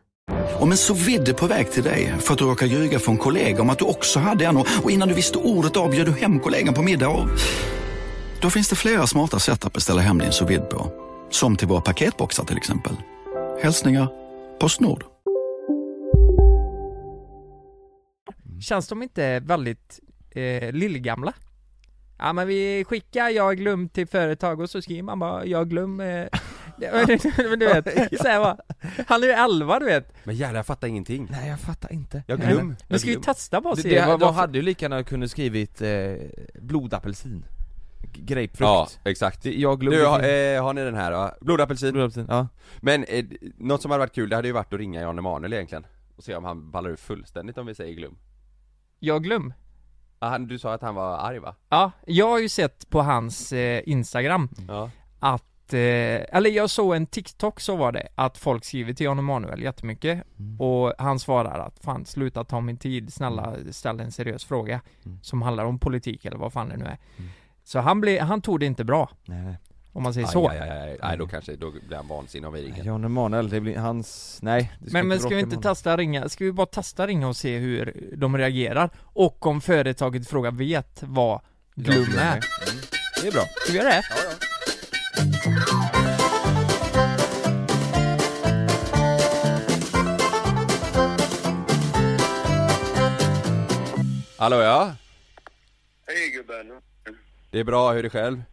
Om en så vidde på väg till dig för att du råkar ljuga från kollega om att du också hade en och och innan du visste ordet av bjöd du hem kollegan på middag och... Då finns det flera smarta sätt att beställa hem din sous vide på. Som till våra paketboxar till exempel. Hälsningar Postnord. Känns de inte väldigt eh, lillgamla? Ja men vi skickar jag glöm till företag och så skriver man bara jag glöm eh. (laughs) Men du vet, så här bara. Han är ju 11 du vet Men jävlar jag fattar ingenting Nej jag fattar inte Jag glöm, Men jag ska vi glöm. testa bara och Det, se det, vad, de vad hade ju lika gärna kunnat skrivit eh, blodapelsin G- Grapefrukt Ja, exakt. Det- Jag glömde Du, har, till- eh, har ni den här då? Blodapelsin? Blodapelsin, ja Men eh, något som hade varit kul, det hade ju varit att ringa Jan Emanuel egentligen Och se om han ballar ur fullständigt om vi säger glöm jag glöm? ah, han, Du sa att han var arg va? Ja, jag har ju sett på hans eh, Instagram Ja att att, eh, eller jag såg en TikTok så var det, att folk skriver till Jan Emanuel jättemycket Och han svarar att fan sluta ta min tid, snälla ställ en seriös fråga Som handlar om politik eller vad fan det nu är Så han, blev, han tog det inte bra nej. Om man säger Aj, så aj, aj, aj. Nej då kanske, då blir han vansinnig av ringen Jan Emanuel, det blir hans, nej det Men, men ska vi bråka inte med testa ringa, ska vi bara testa ringa och se hur de reagerar? Och om företaget i fråga vet vad glum Glum är. är Mm. Det är bra Ska vi göra det? Hallå ja? Hej gubben. Det är bra, hur är det själv?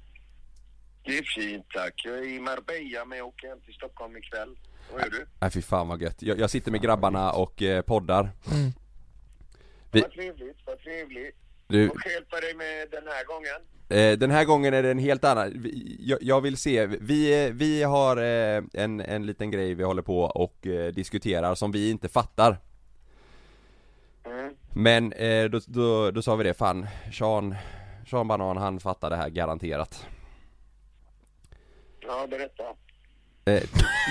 Det är fint tack. Jag är i Marbella men jag åker hem till Stockholm ikväll. Vad gör du? Nej fy fan vad gött, jag, jag sitter med grabbarna och eh, poddar Mm. Vi, Vad trevligt, vad trevligt. Du- Vad ska jag hjälpa dig med den här gången? eh, den här gången är det en helt annan, vi, jag, jag vill se, vi, eh, vi har eh, en, en liten grej vi håller på och eh, diskuterar som vi inte fattar Mm. Men eh, då, då, då sa vi det, fan, Sean, Sean Banan han fattar det här garanterat Ja, berätta. eh,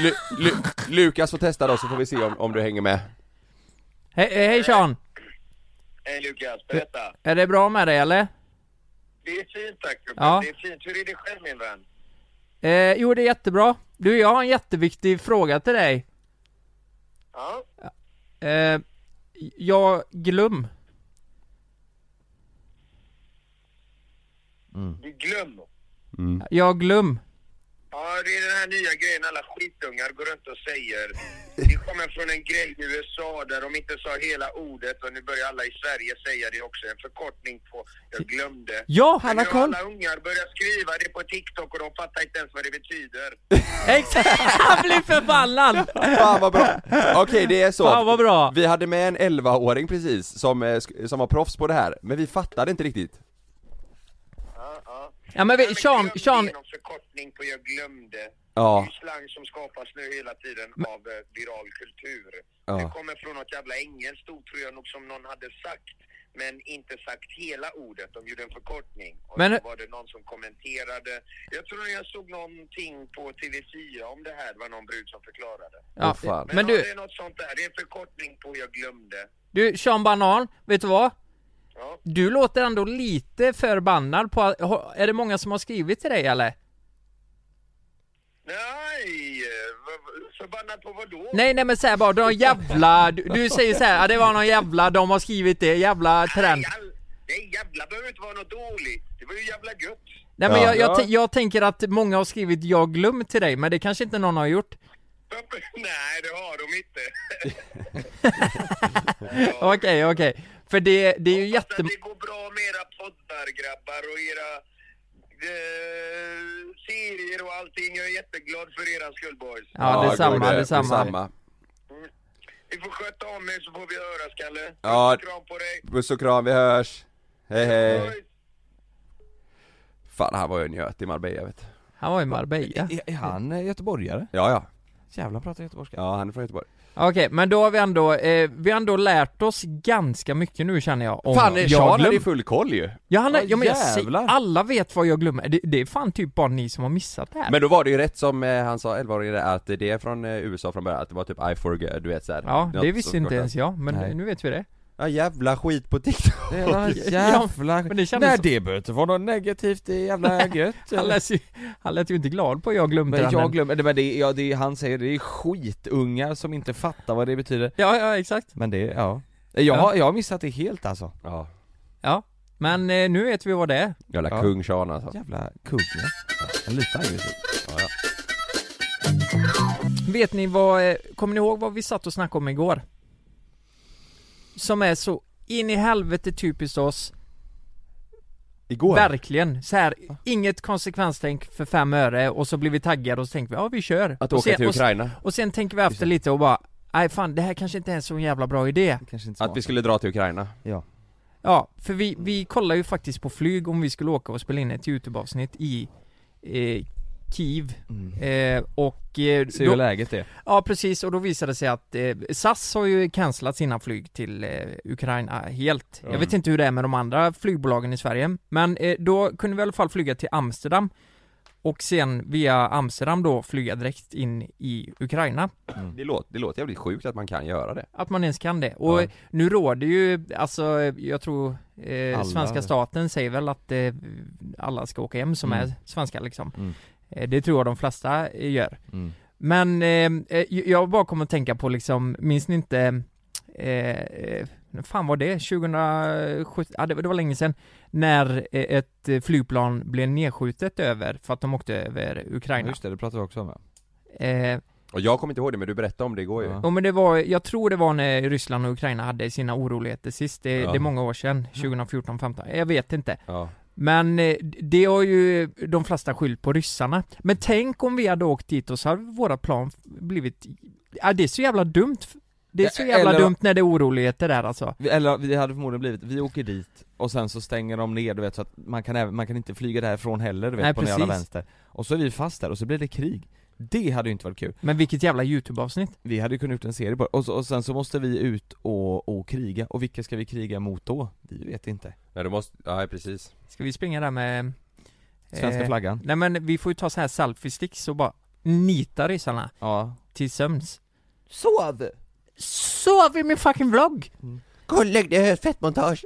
Lu, Lu, Lukas får testa då så får vi se om, om du hänger med Hej, eh, hej Sean! Hej Lukas, berätta. Är det bra med dig eller? Det är fint tack gubben. Ja. Det är fint. Hur är det själv min vän? Eh, jo det är jättebra. Du, jag har en jätteviktig fråga till dig. Ja. Eh, jag, Glum. Du glöm. Jag, Glum. Ja, det är den här nya grejen alla skitungar går runt och säger. Det kommer från en grej i USA där de inte sa hela ordet och nu börjar alla i Sverige säga det också. En förkortning på jag glömde. Ja, han Men har nu koll. Alla ungar börjar skriva det på TikTok och de fattar inte ens vad det betyder. Exakt! (laughs) Han blir (laughs) förbannad! Fan vad bra! Okej det är så, Fan, vad bra. vi hade med en 11-åring precis som, eh, sk- som var proffs på det här, men vi fattade inte riktigt Ja men vi, Sean, Sean, Någon förkortning på jag glömde. Ja. Det är slang som skapas nu hela tiden av eh, viral kultur. Ja. Det kommer från något jävla engelskt ord tror jag nog som någon hade sagt. Men inte sagt hela ordet, de gjorde en förkortning. Och Men- så var det någon som kommenterade. Jag tror jag såg någonting på TV4 om det här, det var någon brud som förklarade. Ja, Åh, fan. men men du... du- det är något sånt där, det är en förkortning på jag glömde. du, Sean Banan, vet du vad? Du låter ändå lite förbannad på att- ha- är det många som har skrivit till dig eller? Nej! eh, vad- vad- Förbannad på vad då? Nej nej men säg bara, de jävla, du, du säger så här, ja, det var någon jävla, de har skrivit det, jävla trend. Nej, jävla behöver inte vara något dåligt. Det var ju jävla gött. (laughs) Nej men jag, jag, tän- jag tänker att många har skrivit 'jag glöm' till dig, men det kanske inte någon har gjort? Nej, det har de inte. Okej, okej. För det, det är ju jätte... Det går bra med era poddar grabbar och era eh, serier och allting. Jag är jätteglad för era skull boys. Ja, Ja, detsamma, gode, detsamma. detsamma. Ni får sköta om er så får vi höra Skalle. Ja, Kram på dig. puss och kram, vi hörs! Hej hej! Fan han var ju en njöt i Marbella vet du. Han var i Marbella. Är, är han eh, (laughs) göteborgare? Ja ja, Jävlar han pratar göteborgska ja han är från Göteborg Okej, men då har vi ändå, eh, vi har ändå lärt oss ganska mycket nu känner jag om Fan jag eh, Sean hade ju glöm. full koll ju! Ja, han är, ja, men jag jävlar. säger, alla vet vad jag glömmer, det, det är fan typ bara ni som har missat det här Men då var det ju rätt som eh, han sa, 11-åringen där, att det är från eh, USA från början, att det var typ I forgot, du vet såhär Ja, det visste inte ens jag, men nu vet vi det Ja jävla skit på TikTok Jävla jävla... men det kändes Nej så- det behöver inte vara något negativt, det (laughs) är jävla gött han, lät ju, han lät ju inte glad på jag glömde Men den, jag glömmer, det- men det, är- ja, det är, han säger det är skitungar som inte fattar vad det betyder Ja, ja exakt Men det, ja Jag, har- jag har missat det helt alltså Ja Ja, men eh, nu vet vi vad det är Jävla ja. kung Sean alltså Jävla kung ja. En liten aggressiv ja, ja. Vet ni vad, eh, kommer ni ihåg vad vi satt och snackade om igår? Som är så in i helvete typiskt oss Igår? Verkligen, så här, inget konsekvenstänk för fem öre och så blir vi taggade och så tänker vi ja vi kör Att och åka till och s- Ukraina. Och, sen tänker vi efter lite och bara Nej fan det här kanske inte är en så jävla bra idé Att vi skulle dra till Ukraina Ja Ja, för vi, vi kollar ju faktiskt på flyg om vi skulle åka och spela in ett YouTube-avsnitt i eh, Kiev Mm. eh, och... Eh, Se hur läget är. Ja precis, och då visade det sig att eh, SAS har ju cancelat sina flyg till eh, Ukraina helt Jag Mm. vet inte hur det är med de andra flygbolagen i Sverige Men eh, då kunde vi i alla fall flyga till Amsterdam och sen via Amsterdam då flyga direkt in i Ukraina. Mm. Det, låter, det låter jävligt sjukt att man kan göra det. Att man ens kan det. Och Ja. nu råder ju, alltså jag tror eh, Alla- svenska staten säger väl att eh, alla ska åka hem som Mm. är svenskar liksom. Mm. Eh, det tror jag de flesta eh, gör. Mm. Men eh, eh, jag bara kommer att tänka på liksom, minns ni inte eh, eh, när fan var det? 2017? Ja, det, var- det var länge sedan. När eh, ett eh, flygplan blev nedskjutet över, för att de åkte över Ukraina. Just det, det pratade vi också om ja. Eh, Och jag kommer inte ihåg det men du berättade om det igår ju. Ja men det var, jag tror det var när Ryssland och Ukraina hade sina oroligheter sist, det, Ja. det är många år sedan, 2014, 15 jag vet inte Ja. Men eh, det har ju de flesta skyllt på ryssarna Men tänk om vi hade åkt dit och så hade våra plan blivit, ja det är så jävla dumt Det är så jävla Eller- dumt när det är oroligheter där alltså Vi- Eller det hade förmodligen blivit, vi åker dit och sen så stänger de ner du vet så att man kan, även, man kan inte flyga därifrån heller du vet Nej, på den jävla precis. vänster Och så är vi fast där och så blir det krig Det hade ju inte varit kul Men vilket jävla youtube-avsnitt Vi hade ju kunnat gjort en serie på det, och, så, och sen så måste vi ut och, och kriga, och vilka ska vi kriga mot då? Vi vet inte Nej du måste, ja precis. Ska vi springa där med Svenska flaggan. Nej men vi får ju ta så här selfie-sticks och bara nita ryssarna Ja Till sömns Sov! Sov i min fucking vlogg! Kolla, det är fettmontage!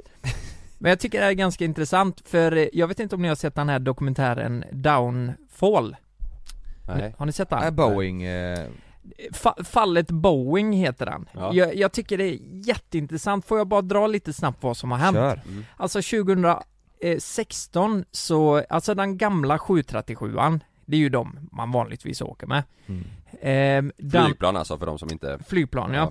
Men jag tycker det här är ganska intressant för eh, jag vet inte om ni har sett den här dokumentären Downfall? Nej. Har ni sett den? Nej, Boeing, eh, Fa- fallet Boeing heter den. Ja. Jag, jag tycker det är jätteintressant, får jag bara dra lite snabbt vad som har hänt? Kör. Mm. Alltså 2016 så, alltså den gamla 737an, det är ju de man vanligtvis åker med. Mm. Ehm, den- Flygplan alltså för de som inte... Flygplan ja.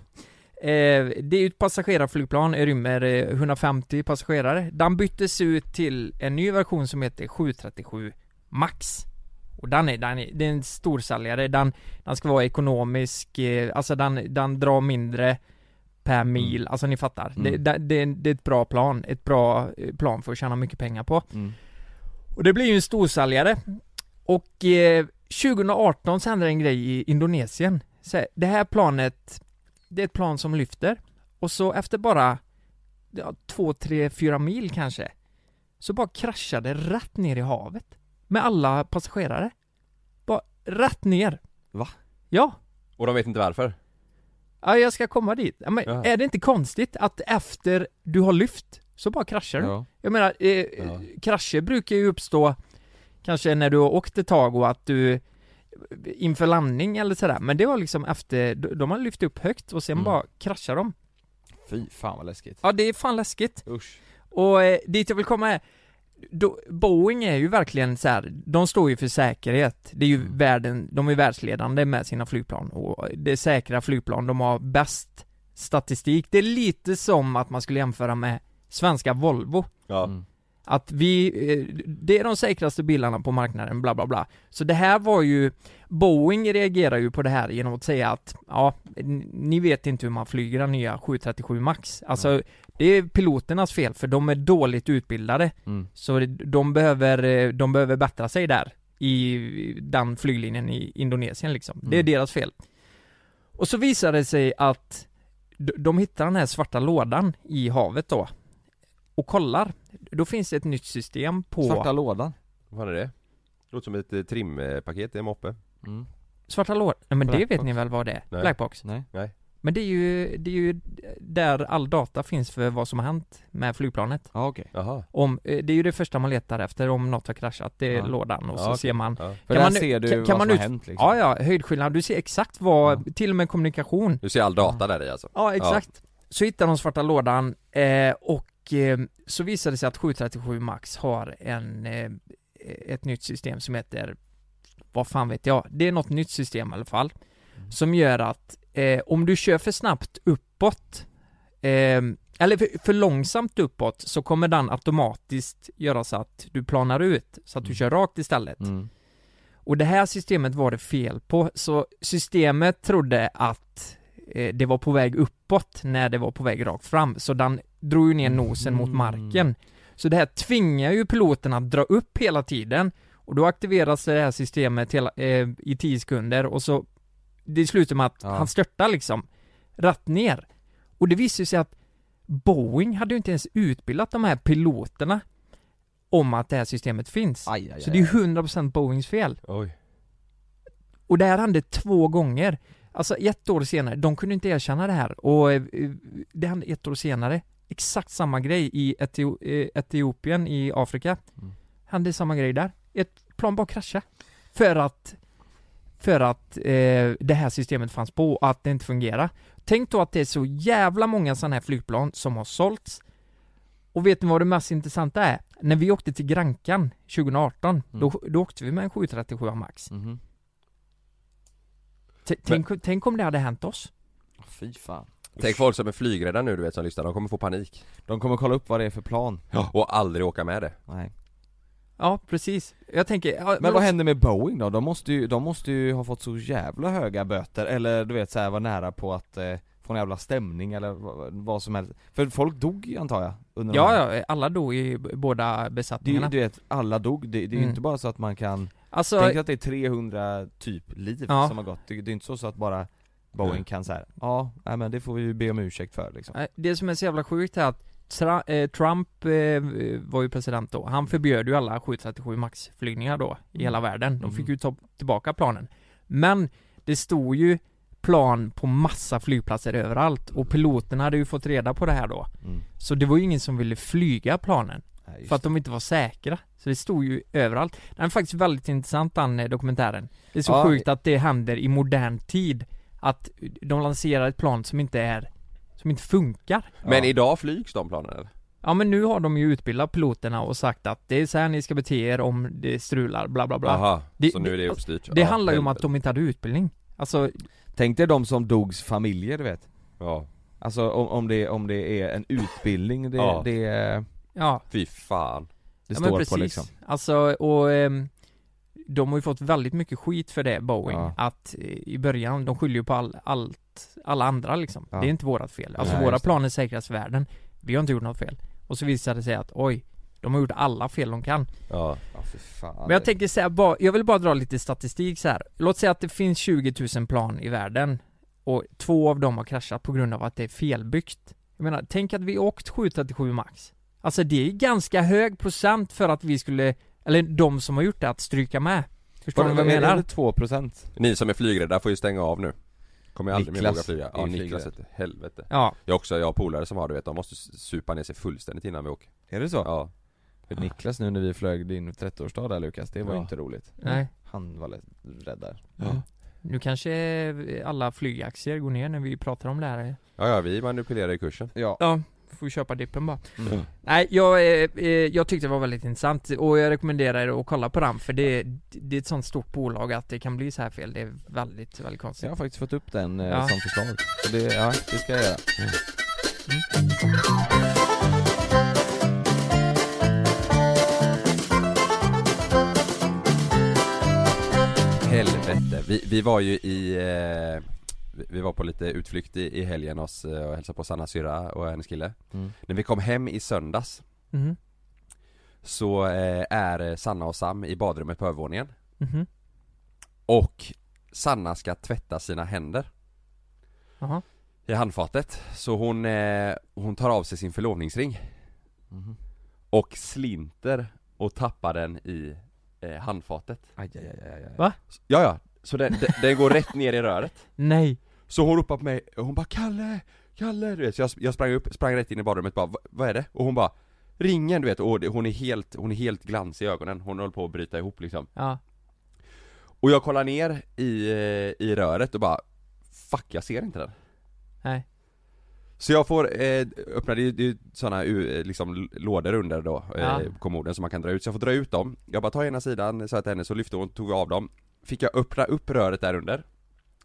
Eh, det är ju ett passagerarflygplan, det rymmer eh, 150 passagerare. Den byttes ut till en ny version som heter 737 Max. Och den är, den är, det är en storsäljare, den, den ska vara ekonomisk, eh, alltså den, den drar mindre per mil, alltså ni fattar. Mm. Det, det, det, är en- det är ett bra plan, ett bra eh, plan för att tjäna mycket pengar på. Mm. Och det blir ju en storsäljare. Och eh, 2018 så händer en grej i Indonesien. Så här, det här planet, det är ett plan som lyfter. Och så efter bara ja, två, tre, fyra mil kanske. Så bara kraschade rätt ner i havet. Med alla passagerare. Bara rätt ner. Va? Ja. Och de vet inte varför? Ja, jag ska komma dit. Ja, men Ja. är det inte konstigt att efter du har lyft så bara kraschar du? Ja. Jag menar, eh, eh, krascher brukar ju uppstå kanske när du har åkt ett tag och att du inför landning eller sådär, men det var liksom efter, de de har lyft upp högt och sen bara kraschar de. Fy fan vad läskigt Ja, det är fan läskigt. Usch. Och eh, dit jag vill komma är, då, Boeing är ju verkligen så här, de står ju för säkerhet. Det är ju världen, de är världsledande med sina flygplan och det är säkra flygplan, de har bäst statistik. Det är lite som att man skulle jämföra med svenska Volvo. Ja. Att vi, eh, det är de säkraste bilarna på marknaden, bla bla bla. Så det här var ju, Boeing reagerar ju på det här genom att säga att, ja, n- ni vet inte hur man flyger den nya 737 Max. Alltså, det är piloternas fel för de är dåligt utbildade. Mm. Så de behöver, eh, de behöver bättra sig där, i den flyglinjen i Indonesien liksom. Det är Mm. deras fel. Och så visade det sig att d- de hittar den här svarta lådan i havet då och kollar, då finns det ett nytt system på Svarta lådan? Vad är det? Det låter som ett eh, trimpaket i en moppe. Mm. Svarta lådan? Nej men det Black vet box. ni väl vad det är? Nej. Blackbox? Nej. Nej. Men det är ju, det är ju där all data finns för vad som har hänt med flygplanet. Ja okej. Jaha. Om, eh, det är ju det första man letar efter om något har kraschat, det är Ja. lådan och Ja, så okej. ser man Ja. För där man, ser du vad som har hänt, liksom. Ja ja, höjdskillnad, du ser exakt vad, till och med kommunikation Du ser all data där i alltså? Ja, exakt. Så hittar de svarta lådan eh, och eh, så visar det sig att 737 Max har en, eh, ett nytt system som heter, vad fan vet jag, det är något nytt system i alla fall, som gör att eh, om du kör för snabbt uppåt, eh, eller för, för långsamt uppåt, så kommer den automatiskt göra så att du planar ut, så att du kör rakt istället. Mm. Och det här systemet var det fel på, så systemet trodde att eh, det var på väg uppåt när det var på väg rakt fram, så den drog ju ner nosen Mm. mot marken. Så det här tvingar ju piloten att dra upp hela tiden och då aktiveras det här systemet hela, eh, i 10 sekunder och så det slutar med att han störtar liksom, rätt ner. Och det visar sig att Boeing hade ju inte ens utbildat de här piloterna om att det här systemet finns. aj, så det är ju 100% Boeings fel. Oj. Och det här hände två gånger. Alltså ett år senare, de kunde inte erkänna det här och eh, det hände ett år senare. Exakt samma grej i Etio eh, Etiopien i Afrika. Hände samma grej där. Ett plan bara kraschade. För att för att eh, det här systemet fanns på och att det inte fungerar. Tänk då att det är så jävla många sådana här flygplan som har sålts. Och vet ni vad det mest intressanta är? När vi åkte till Grankan 2018, då, då åkte vi med en 737 Max. T- Tänk, tänk om det hade hänt oss? Fy fan. Tänk folk som är flygrädda nu du vet som lyssnar, de kommer få panik De kommer kolla upp vad det är för plan Ja, och aldrig åka med det Nej Ja, precis. Jag tänker... ja, Men vad händer med Boeing då? De måste ju, de måste ju ha fått så jävla höga böter eller du vet så här vara nära på att eh, få en jävla stämning eller vad, vad som helst För folk dog ju, antar jag? Under de här- Ja, ja, alla dog i b- båda det är ju, besättningarna. du vet, alla dog, det, det är ju Mm. inte bara så att man kan Alltså- Tänk att det är 300 typ liv Ja. som har gått, det, det är inte så, så att bara Boeing Nej. kan så här. ja, nej men det får vi ju be om ursäkt för liksom Nej, eh, Det som är så jävla sjukt är att Tra- eh, Trump eh, var ju president då. Han förbjöd ju alla 737 Max-flygningar då i Mm. hela världen. De fick ju ta tillbaka planen. Men det stod ju plan på massa flygplatser överallt och piloterna hade ju fått reda på det här då. Mm. Så det var ju ingen som ville flyga planen. just för att de inte var säkra. Så det stod ju överallt. Den är faktiskt väldigt intressant den eh, dokumentären. Det är så Ja. sjukt att det händer i modern tid. Att de lanserar ett plan som inte är, som inte funkar. Men idag flygs de planen eller? Ja men nu har de ju utbildat piloterna och sagt att det är så här ni ska bete er om det strular, bla bla bla Aha, så nu är det uppstyrt. Det Ja, handlar ju om helvete. att de inte hade utbildning Alltså Tänk dig de som dogs familjer du vet Ja Alltså om, om, det, om det är en utbildning, det, Ja. det, det Ja. Fy fan Det ja, men står precis. på liksom Alltså och ehm, de har ju fått väldigt mycket skit för det Boeing Ja. Att eh, i början, de skyller ju på all, allt, alla andra liksom Ja. Det är inte vårat fel Alltså Nej, våra just det. plan är säkrast i världen Vi har inte gjort något fel Och så visar det sig att oj De har gjort alla fel de kan Ja, ja för fan Men jag tänker säga bara, jag vill bara dra lite statistik så här. Låt säga att det finns 20 000 plan i världen och två av dem har kraschat på grund av att det är felbyggt. Jag menar, tänk att vi åkt 737 max. Alltså det är ganska hög procent för att vi skulle, eller de som har gjort det, att stryka med. Förstår ni vad jag menar? 2%? Ni som är flygrädda får ju stänga av nu Kommer jag aldrig mer Niklas våga flyga är Ja, Niklas flygrädd. heter helvete Ja. Jag också, jag har polare som har du vet, de måste supa ner sig fullständigt innan vi åker Är det så? Ja För Niklas nu när vi flög din 30-årsdag där Lukas, det var ju Ja. inte roligt Nej. Han var lätt rädd där Nu kanske alla flygaktier går ner när vi pratar om det här. Ja, ja vi manipulerar i kursen Ja Ja, får vi köpa dippen bara. Mm. Nej, jag, eh, eh, jag tyckte det var väldigt intressant och jag rekommenderar er att kolla på den för det, det är ett sånt stort bolag att det kan bli så här fel. Det är väldigt, väldigt konstigt. Jag har faktiskt fått upp den eh, Ja. som förslag Så det, ja, det ska jag göra Mm. Helvete, vi, vi var ju i eh, vi- Vi var på lite utflykt i, i helgen hos, eh, och hälsade på Sanna syrra och hennes kille Mm. Mm-hmm. När vi kom hem i söndags Mhm. Så eh, är Sanna och Sam i badrummet på övervåningen Mm-hmm. Mhm. Och Sanna ska tvätta sina händer Jaha. I handfatet, så hon, eh, hon tar av sig sin förlovningsring Mhm. Och slinter och tappar den i eh, handfatet aj, aj, aj, aj, aj. Va? Ja, ja, så den, den, den går rätt ner i röret Nej. Så hon ropar på mig, och hon bara 'Kalle, Kalle' du vet, så jag, jag sprang upp, sprang rätt in i badrummet bara 'Va- 'Vad är det?' Och hon bara 'Ringen' du vet, och det- hon är helt, hon är helt glans i ögonen, hon håller på att bryta ihop liksom Ja. Och jag kollar ner i, eh, i röret och bara 'Fuck, jag ser inte den' Nej. Så jag får eh, öppna, det är ju- det är ju sådana liksom l- lådor under då, eh, Ja. kommoden som man kan dra ut, så jag får dra ut dem Jag bara tar ena sidan, så att henne, så lyfte hon, tog jag av dem Fick jag öppna upp röret där under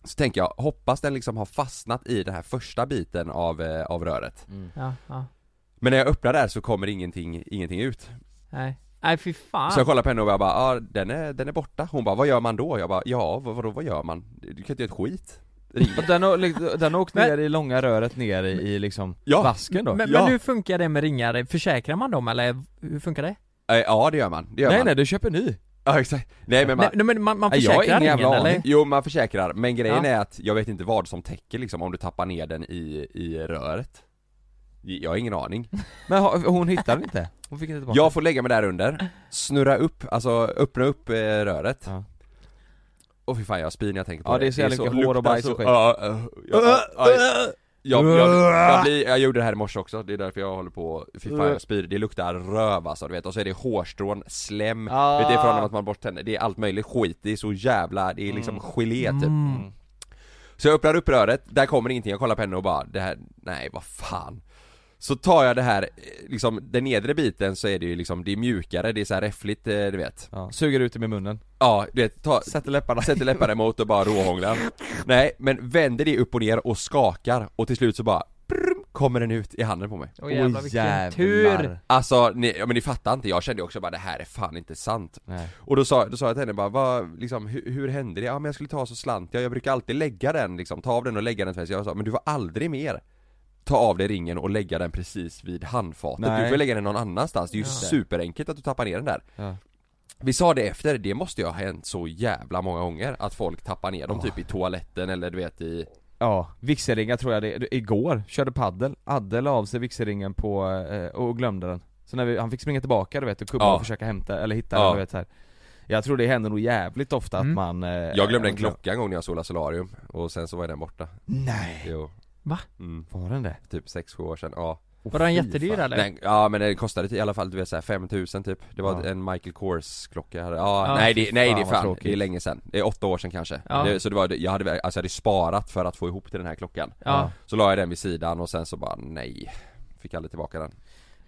Så tänker jag, hoppas den liksom har fastnat i den här första biten av, eh, av röret Ja, ja. Men när jag öppnar där så kommer ingenting, ingenting ut Nej. Nej, fy fan. Så jag kollar på henne och jag bara, ah, den, är, den är borta Hon bara, vad gör man då? Jag bara, ja vad, vadå vad gör man? Du kan inte göra ett skit Ring- Och den, har liksom- den har åkt ner i långa röret ner i, i liksom Ja. vasken då Men, men hur funkar det med ringar? Försäkrar man dem eller hur funkar det? Eh, Ja det gör man, det gör Nej man. nej, du köper ny! Ja exakt, nej men man, Nej, nej, men man- man Nej, försäkrar jag har ingen ringen, jävla aning. eller? Jo man försäkrar, men grejen Ja. är att jag vet inte vad som täcker liksom om du tappar ner den i, i röret Jag har ingen aning. Men ha- hon hittade inte? Hon fick inte tillbaka? Jag får lägga mig där under, snurra upp, alltså öppna upp eh, röret. Och fy fan jag har spy när jag tänker på Ja, det. det är så jävla mycket hår och luktar bajs så- och skit. Ja, ja, ja, ja, ja. Jag, jag, jag, blir, jag gjorde det här i morse också, det är därför jag håller på, fy fan Mm. jag spyr, det luktar röv alltså du vet, och så är det hårstrån, slem, Ah. vet, det är från att man borstar det är allt möjligt skit, det är så jävla, det är liksom gelé typ Mm. Så jag öppnar upp röret, där kommer ingenting, jag kollar på henne och bara det här, nej vad fan Så tar jag det här, eh, liksom den nedre biten så är det ju liksom, det är mjukare, det är så här räffligt eh, du vet Ja, suger ut det med munnen. Ja, du vet, ta, sätter läpparna Sätter läpparna emot och bara råhånglar Nej, men vänder det upp och ner och skakar och till slut så bara prrm, kommer den ut i handen på mig Åh, jävlar, Åh, vilken jävlar. tur. Alltså, ni, ja, men ni fattar inte, jag kände ju också bara det här är fan inte sant Och då sa, då sa jag till henne bara, vad, liksom, hur, hur hände det? Ja men jag skulle ta så slant, jag, jag brukar alltid lägga den liksom, ta av den och lägga den tvärs Jag sa, men du var aldrig mer Ta av dig ringen och lägga den precis vid handfatet, Nej. du får lägga den någon annanstans, det är ju Just det. superenkelt att du tappar ner den där Ja. vi sa det efter, det måste ju ha hänt så jävla många gånger att folk tappar ner dem typ i toaletten eller du vet i... Ja, vigselringar tror jag det igår, körde paddel, hade la av sig vigselringen på, eh, och glömde den Så när vi, han fick springa tillbaka du vet och kubba Ja. och försöka hämta, eller hitta Ja. den du vet så här. Jag tror det händer nog jävligt ofta Mm. att man eh, Jag glömde en man- klocka en gång när jag solade solarium och sen så var den borta Nej. Jo Va? Mm. Var den det? Typ 6-7 år sedan, ja Var den jättedyr, Fy fan. eller? Nej, ja men det kostade i alla fall du vet såhär 5000 typ Det var Ja. en Michael Kors klocka jag hade. ja, Ja, nej, fy det, nej det är fan, vad fan, tråkigt. det är länge sedan Det är åtta år sedan kanske Ja. det, Så det var, jag hade, alltså jag hade sparat för att få ihop till den här klockan Ja. Så la jag den vid sidan och sen så bara nej Fick aldrig tillbaka den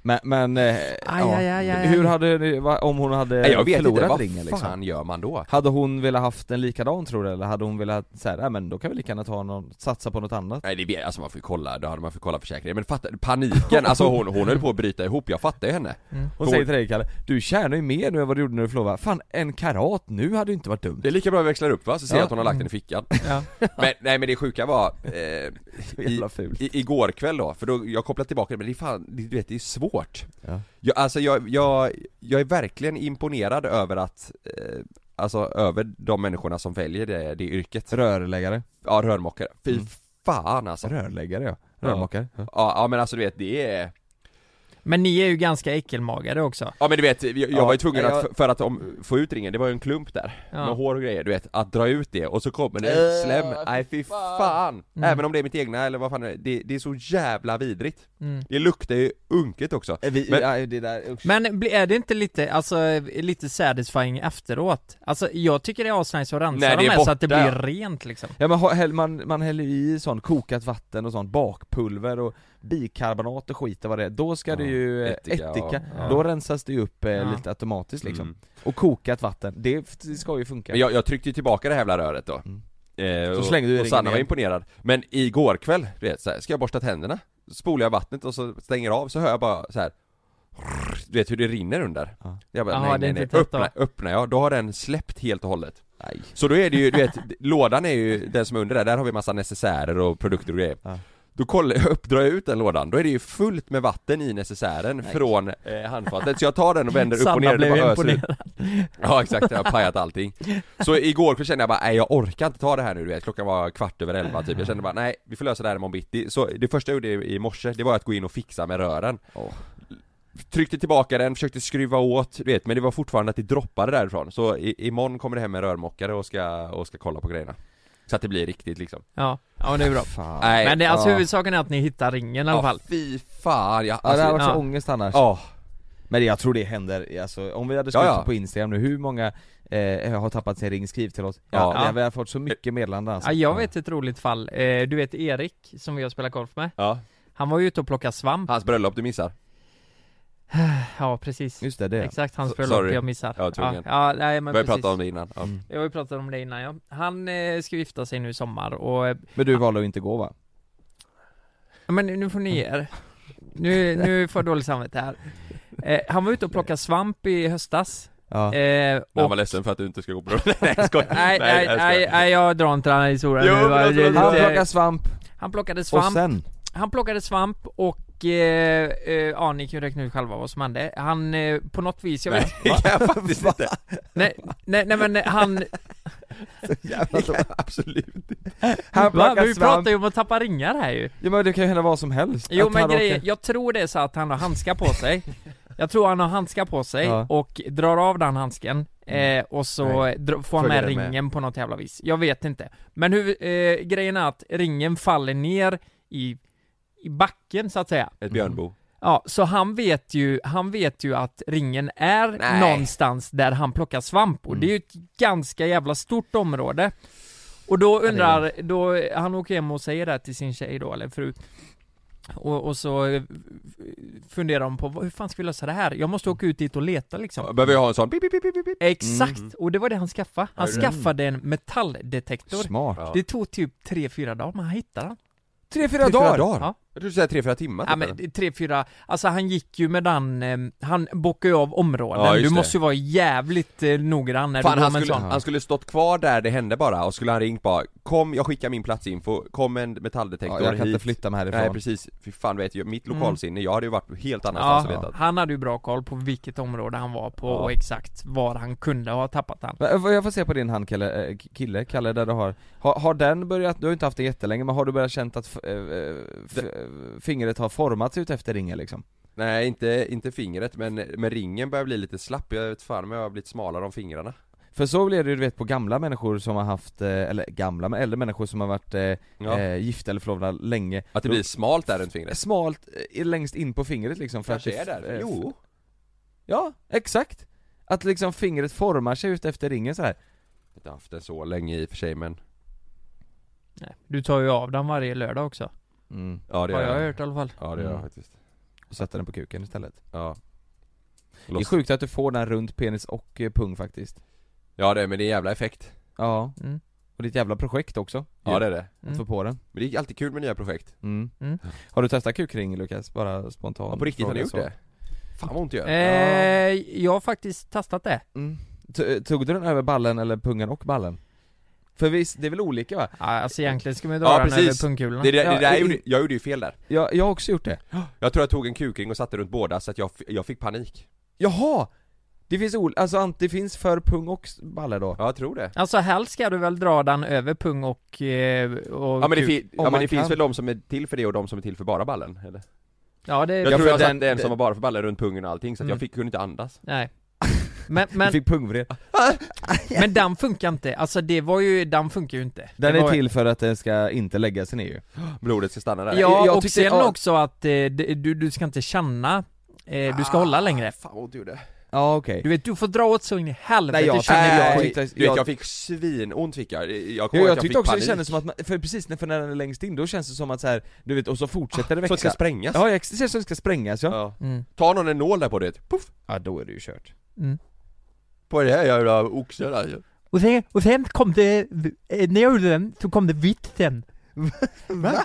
Men, men eh, ja. aj, aj, aj. hur hade ni, va- om hon hade Nej, jag vet inte, förlorat vad ringen liksom? fan gör man då? Hade hon velat haft en likadan tror du eller hade hon velat såhär, nej men då kan vi lika gärna ta någon, satsa på något annat? Nej det vet alltså man får ju kolla, då hade man fått kolla försäkringen Men fatta, paniken, alltså hon, hon höll på att bryta ihop, jag fattar ju henne Hon För säger till dig Kalle, du tjänar ju mer nu än vad du gjorde när du förlovade Fan, en karat nu hade ju inte varit dumt Det är lika bra vi växlar upp va, så ser Ja. Mm. jag att hon har lagt den i (laughs) fickan Men nej men det sjuka var, eh, i, i, igår kväll då, för då, jag kopplade tillbaka det, men det är fan, det- du vet det är svårt Ja. jag, Alltså jag, jag, jag är verkligen imponerad över att, eh, alltså över de människorna som väljer det, det yrket Rörläggare Mm. Ja rörmokare, fy fan alltså Rörläggare ja, rörmokare ja. ja, ja men alltså du vet det är Men ni är ju ganska äckelmagade också. Ja men du vet, jag, jag Ja, var ju tvungen jag- att, för- för att om, få ut ringen, det var ju en klump där Ja. Med hår och grejer, du vet, att dra ut det och så kommer det Äh, slem, nej fy fan! Mm. Även om det är mitt egna eller vad fan det är, det, det är så jävla vidrigt Mm. Det luktar ju unket också Äh, Men- Men bli- är det inte lite, alltså, eh, lite satisfying efteråt? Alltså jag tycker det är asnice att rensa Nej, dem det är här så att det borta. blir rent liksom Ja men ha- häll- man, man häller ju i sånt kokat vatten och sånt, bakpulver och bikarbonat och skit och vad det är. Då ska det ju eh, ättika, ättika, ja. då Ja. rensas det ju upp eh, Ja. lite automatiskt liksom. Mm. Och kokat vatten, det f- det ska ju funka. Men jag, jag tryckte ju tillbaka det här jävla röret då eh, Så och, slängde du och ringen Sanna var igen. imponerad Men igår kväll, du vet så här, ska jag borsta tänderna? Spolar jag vattnet och så stänger jag av så hör jag bara så här. Du vet hur det rinner under? Jag bara Jaha, nej det nej är nej, inte tätt då. öppnar, öppnar jag, då har den släppt helt och hållet Så då är det ju, du vet, lådan är ju den som är under där, där har vi massa necessärer och produkter och grejer Då (laughs) kollar jag upp, drar jag ut den lådan, då är det ju fullt med vatten i necessären från eh, handfatet Så jag tar den och vänder upp Sanna och ner och det blev bara öser ut. imponerad. Ja exakt, jag har pajat allting Så igår kväll kände jag bara, nej jag orkar inte ta det här nu du vet, klockan var kvart över elva typ Jag kände bara, nej vi får lösa det här imorgon bitti Så det första jag gjorde i i morse, det var att gå in och fixa med rören Tryckte tillbaka den, försökte skruva åt, du vet, men det var fortfarande att det droppade därifrån Så i, imorgon kommer det hem en rörmokare och ska, och ska kolla på grejerna Så att det blir riktigt liksom Ja, ja men det är bra Fan. Nej, Men det, alltså ja. huvudsaken är att ni hittar ringen i alla Ja, fall fy fan, alltså, ah. jag, ja, det hade varit så ja. ångest annars. Ja. Men jag tror det händer, alltså, om vi hade skrivit Ja, ja. på Instagram nu, hur många eh, har tappat sin ring? Skriv till oss. Ja, Ja. vi har- Vi har fått så mycket meddelanden alltså. Ja, jag vet ett roligt fall. Eh, Du vet Erik, som vi har spelat golf med? Ja. Han var ju ute och plockade svamp. Hans bröllop du missar Ja, precis. Just det, det. Exakt, hans So- bröllop sorry. jag missar. Jag var tvungen. ja, nej, men Vi har ju precis. pratat om det innan, ja. Mm. Jag har ju pratat om det innan ja. Han eh, ska gifta sig nu i sommar och... eh, Men du valde att inte gå va? Ja, men nu får ni ge er. Nu, nu får jag dåligt samvete här. Eh, han var ute och plockade svamp i höstas. Ja. Eh, Men han och var ledsen för att du inte ska gå på bröllop, (laughs) nej jag skojar. Nej, nej, jag skojar. nej, nej, jag drar inte den här historien Jo, nu, men va? alltså, Det är Han (laughs) lite- plockade svamp. Han plockade svamp Och sen? Han plockade svamp och, eh, eh, ja ni kan ju räkna ut själva vad som hände Han, eh, på något vis, jag vet Nej, det kan jag faktiskt inte nej, nej, nej men han Så jävla dåligt. Absolut Han plockar Va? Men vi svamp. pratar ju om att tappa ringar här ju. Ja men det kan ju hända vad som helst. Jo Att men han grejen, råkar- jag tror det är så att han har handskar på sig Jag tror han har handskar på sig Ja. Mm. och drar av den handsken eh, och så Nej. dr- får han Följer med den med. ringen på något jävla vis Jag vet inte Men hur, eh, grejen är att ringen faller ner i, i backen så att säga Ett björnbo. Ja, så han vet ju, han vet ju att ringen är Nej. Mm. någonstans där han plockar svamp och det är ju ett ganska jävla stort område Och då det är undrar, då, han åker hem och säger det här till sin tjej då, eller förut och, och så eh, funderar de på, "Vad- hur fan ska vi lösa det här? Jag måste åka ut dit och leta liksom Behöver jag ha en sån pip, pip, pip, pip, pip? Exakt! Mm. Och det var det han skaffade, han Hörru. skaffade en metalldetektor Smart. Det tog typ 3-4 dagar, men han hittade den Tre, fyra dagar? Ja. Jag trodde du säga tre, fyra timmar Ja typ, men eller? det är tre, fyra, alltså han gick ju med den, eh, han bockade ju av områden, Ja, du just det. måste ju vara jävligt eh, noggrann när Fan du går han med en skulle, sån han skulle stått kvar där det hände bara och skulle han ringt bara Kom, jag skickar min platsinfo, kom en metalldetektor Ja, jag kan hit. inte flytta mig härifrån. Nej precis, fy fan vet jag, mitt Mm. lokalsinne, jag hade ju varit helt annanstans och ja, vetat Alltså, han hade ju bra koll på vilket område han var på Ja. och exakt var han kunde ha tappat han Men, eh, Jag får se på din hand Kalle, eh, kille, Kalle där du har. har, har den börjat, du har ju inte haft det jättelänge men har du börjat känt att f- eh, eh, f- eh, fingret har formats ut efter ringen liksom? Nej inte, inte fingret men, men ringen börjar bli lite slapp, jag vet fan om jag har blivit smalare om fingrarna För så blir det ju du vet på gamla människor som har haft, eh, eller gamla, men äldre människor som har varit eh, Ja. eh, gifta eller förlovade länge Att det Då- blir smalt där runt fingret Smalt, eh, längst in på fingret liksom för Kanske att det är därför. eh, Jo. Ja, exakt! Att liksom fingret formar sig ut efter ringen så här. Jag har inte haft det så länge i och för sig men Nej, Du tar ju av den varje lördag också Mm. Ja det Har gör jag hört i alla fall Ja det gör jag Mm. faktiskt Och sätta den på kuken istället Ja Det är sjukt att du får den runt penis och eh, pung faktiskt Ja det, men det är en jävla effekt Ja Mm. Och ditt jävla projekt också Ja det är det Att få på den Men det är alltid kul med nya projekt mm. Mm. Har du testat kukring Lukas? Bara spontant Ja, på riktigt, har du fråga gjort så. det? Fan vad ont det gör eh, Jag har faktiskt testat det Mm. T- Tog du den över ballen eller pungen och ballen? För visst, det är väl olika va? Ja, alltså egentligen ska man dra Ja den precis, över det, pungkulorna det, det, där Ja, jag, gjorde, jag gjorde ju fel där Ja, jag har också gjort det Jag tror jag tog en kukring och satte runt båda så att jag, f- jag fick panik Jaha! Det finns ol- alltså ant- det finns för pung och s- balle då? Ja jag tror det Alltså helst ska du väl dra den över pung och, eh, och Ja men det, kuk. fi- ja, men det finns väl de som är till för det och de som är till för bara ballen eller? Ja det Jag tror jag satte en som var bara för ballen runt pungen och allting så att Mm. jag fick, kunde inte andas Nej Men, men fick pungvred Men den funkar inte, alltså det var ju, den funkar ju inte Den det är var... till för att den ska inte lägga sig ner ju Blodet ska stanna där Ja, Jag och tyckte- sen ja. också att eh, det- du, du ska inte känna, eh, du ska hålla längre Fan vad ont det gjorde Ja okej Du vet, du får dra åt så in i helvete Nej, jag- känner nej, jag jag- Äh, Du vet jag fick svinont fick jag, jag Jo, kommer jag, ihåg att jag fick tyckte också panik det kändes som att, man, för precis när, för när den är längst in, då känns det som att så här, du vet, och så fortsätter det Ah, så växa att det ska sprängas? Ja, ex- det känns som att det ska sprängas ja Ja. Mm. Ta någon en nål där på det, poff! Ja då är det ju kört På det här jävla oxen alltså och, sen, och sen kom det, eh, när jag gjorde den så kom det vitt sen Va?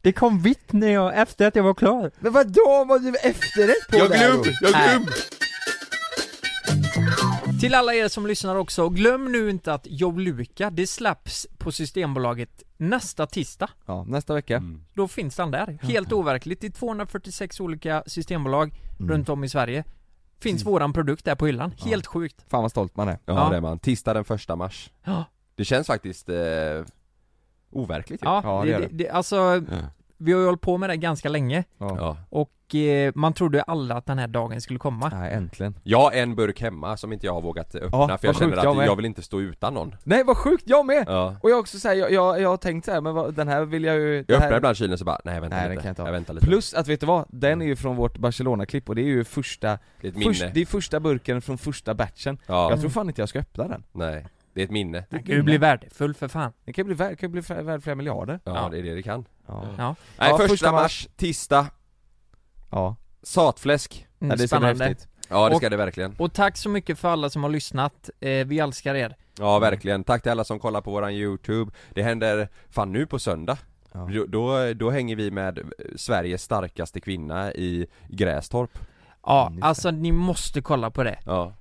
Det, kom vitt när jag, efter att jag var klar Men vadå, var du efterrätt på Jag glöm, jag glöm! Till alla er som lyssnar också, glöm nu inte att Joluka, det släpps på Systembolaget nästa tisdag Ja, nästa vecka Då finns den där, helt overkligt. I 246 olika systembolag Mm. runt om i Sverige Finns våran produkt där på hyllan, helt sjukt Fan vad stolt man är Ja, Ja. det är man, tisdag den första mars Ja. Det känns faktiskt eh, overkligt ju. Ja, det, gör det, det, alltså Ja. Vi har ju hållit på med det ganska länge Ja. Och eh, man trodde ju alla att den här dagen skulle komma Nej äntligen Jag har en burk hemma som inte jag har vågat eh, öppna Ja, för vad jag sjukt, känner att jag jag, med. vill inte stå utan (laughs) någon Nej vad sjukt, jag med! Ja. Och jag har också såhär, jag, jag, jag har tänkt såhär, men vad, den här vill jag ju det Jag här... öppnar ibland kylen så bara, nej vänta Nej, den lite, kan jag jag, inte ha. väntar lite Plus att vet du vad? Den är ju från vårt Barcelona-klipp och det är ju första Det är ett minne. det är första burken från första batchen Ja. Jag tror fan inte jag ska öppna den Nej, det är ett minne Den kan ju bli värdefull för fan Den kan ju bli, värd- kan ju bli flera- värd flera miljarder Ja, det är det det kan Ja, Ja, Nej, Ja, första, första mars, mars. tisdag ja. Satfläsk Mm, Ja, det ska bli spännande. häftigt. Ja det Och- ska det verkligen Och tack så mycket för alla som har lyssnat, eh, vi älskar er Ja Mm. verkligen, tack till alla som kollar på våran youtube Det händer, fan nu på söndag då, då, då hänger vi med eh, Sveriges starkaste kvinna i Grästorp Ja, alltså ni måste kolla på det Ja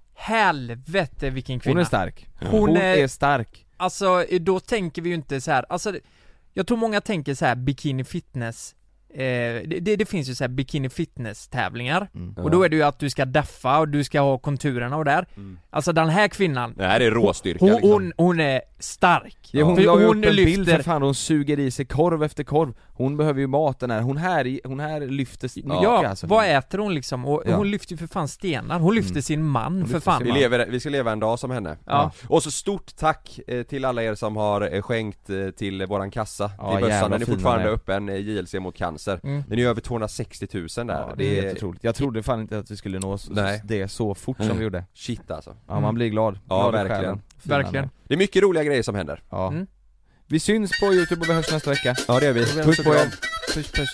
Helvete vilken kvinna Hon är stark Hon är- stark eh, Alltså då tänker vi ju inte så här. alltså det- Jag tror många tänker så här bikini fitness Eh, det, det, det finns ju så här bikini fitness tävlingar Mm. och då är det ju att du ska deffa och du ska ha konturerna och där Alltså den här kvinnan Mm. Det här är råstyrka hon, liksom. hon, hon är stark! Ja, hon För la ju upp en bild för fan, hon suger i sig korv efter korv Hon behöver ju mat den här, hon här, hon här alltså. lyfter Ja, vad äter hon liksom? Och Ja. hon lyfter ju för fan stenar, hon Mm. lyfter sin man för fan Vi, lever, vi ska leva en dag som henne. Ja. Och så stort tack eh, till alla er som har eh, skänkt eh, till våran kassa, Ja, till jävla bössan. Den är fina fortfarande ni är. öppen, eh, JLC mot cancer. Mm. Den är över 260 000 där. Ja, det är helt otroligt. Jag trodde fan inte att vi skulle nå s- Nej. det så fort som vi gjorde Shit alltså. Mm. Ja Mm. man blir glad, Ja glad i verkligen. själen. Fina ni Det är mycket roliga grejer som händer. Ja. Vi syns på youtube och vi hörs nästa vecka Ja det gör vi, Puss på er Puss puss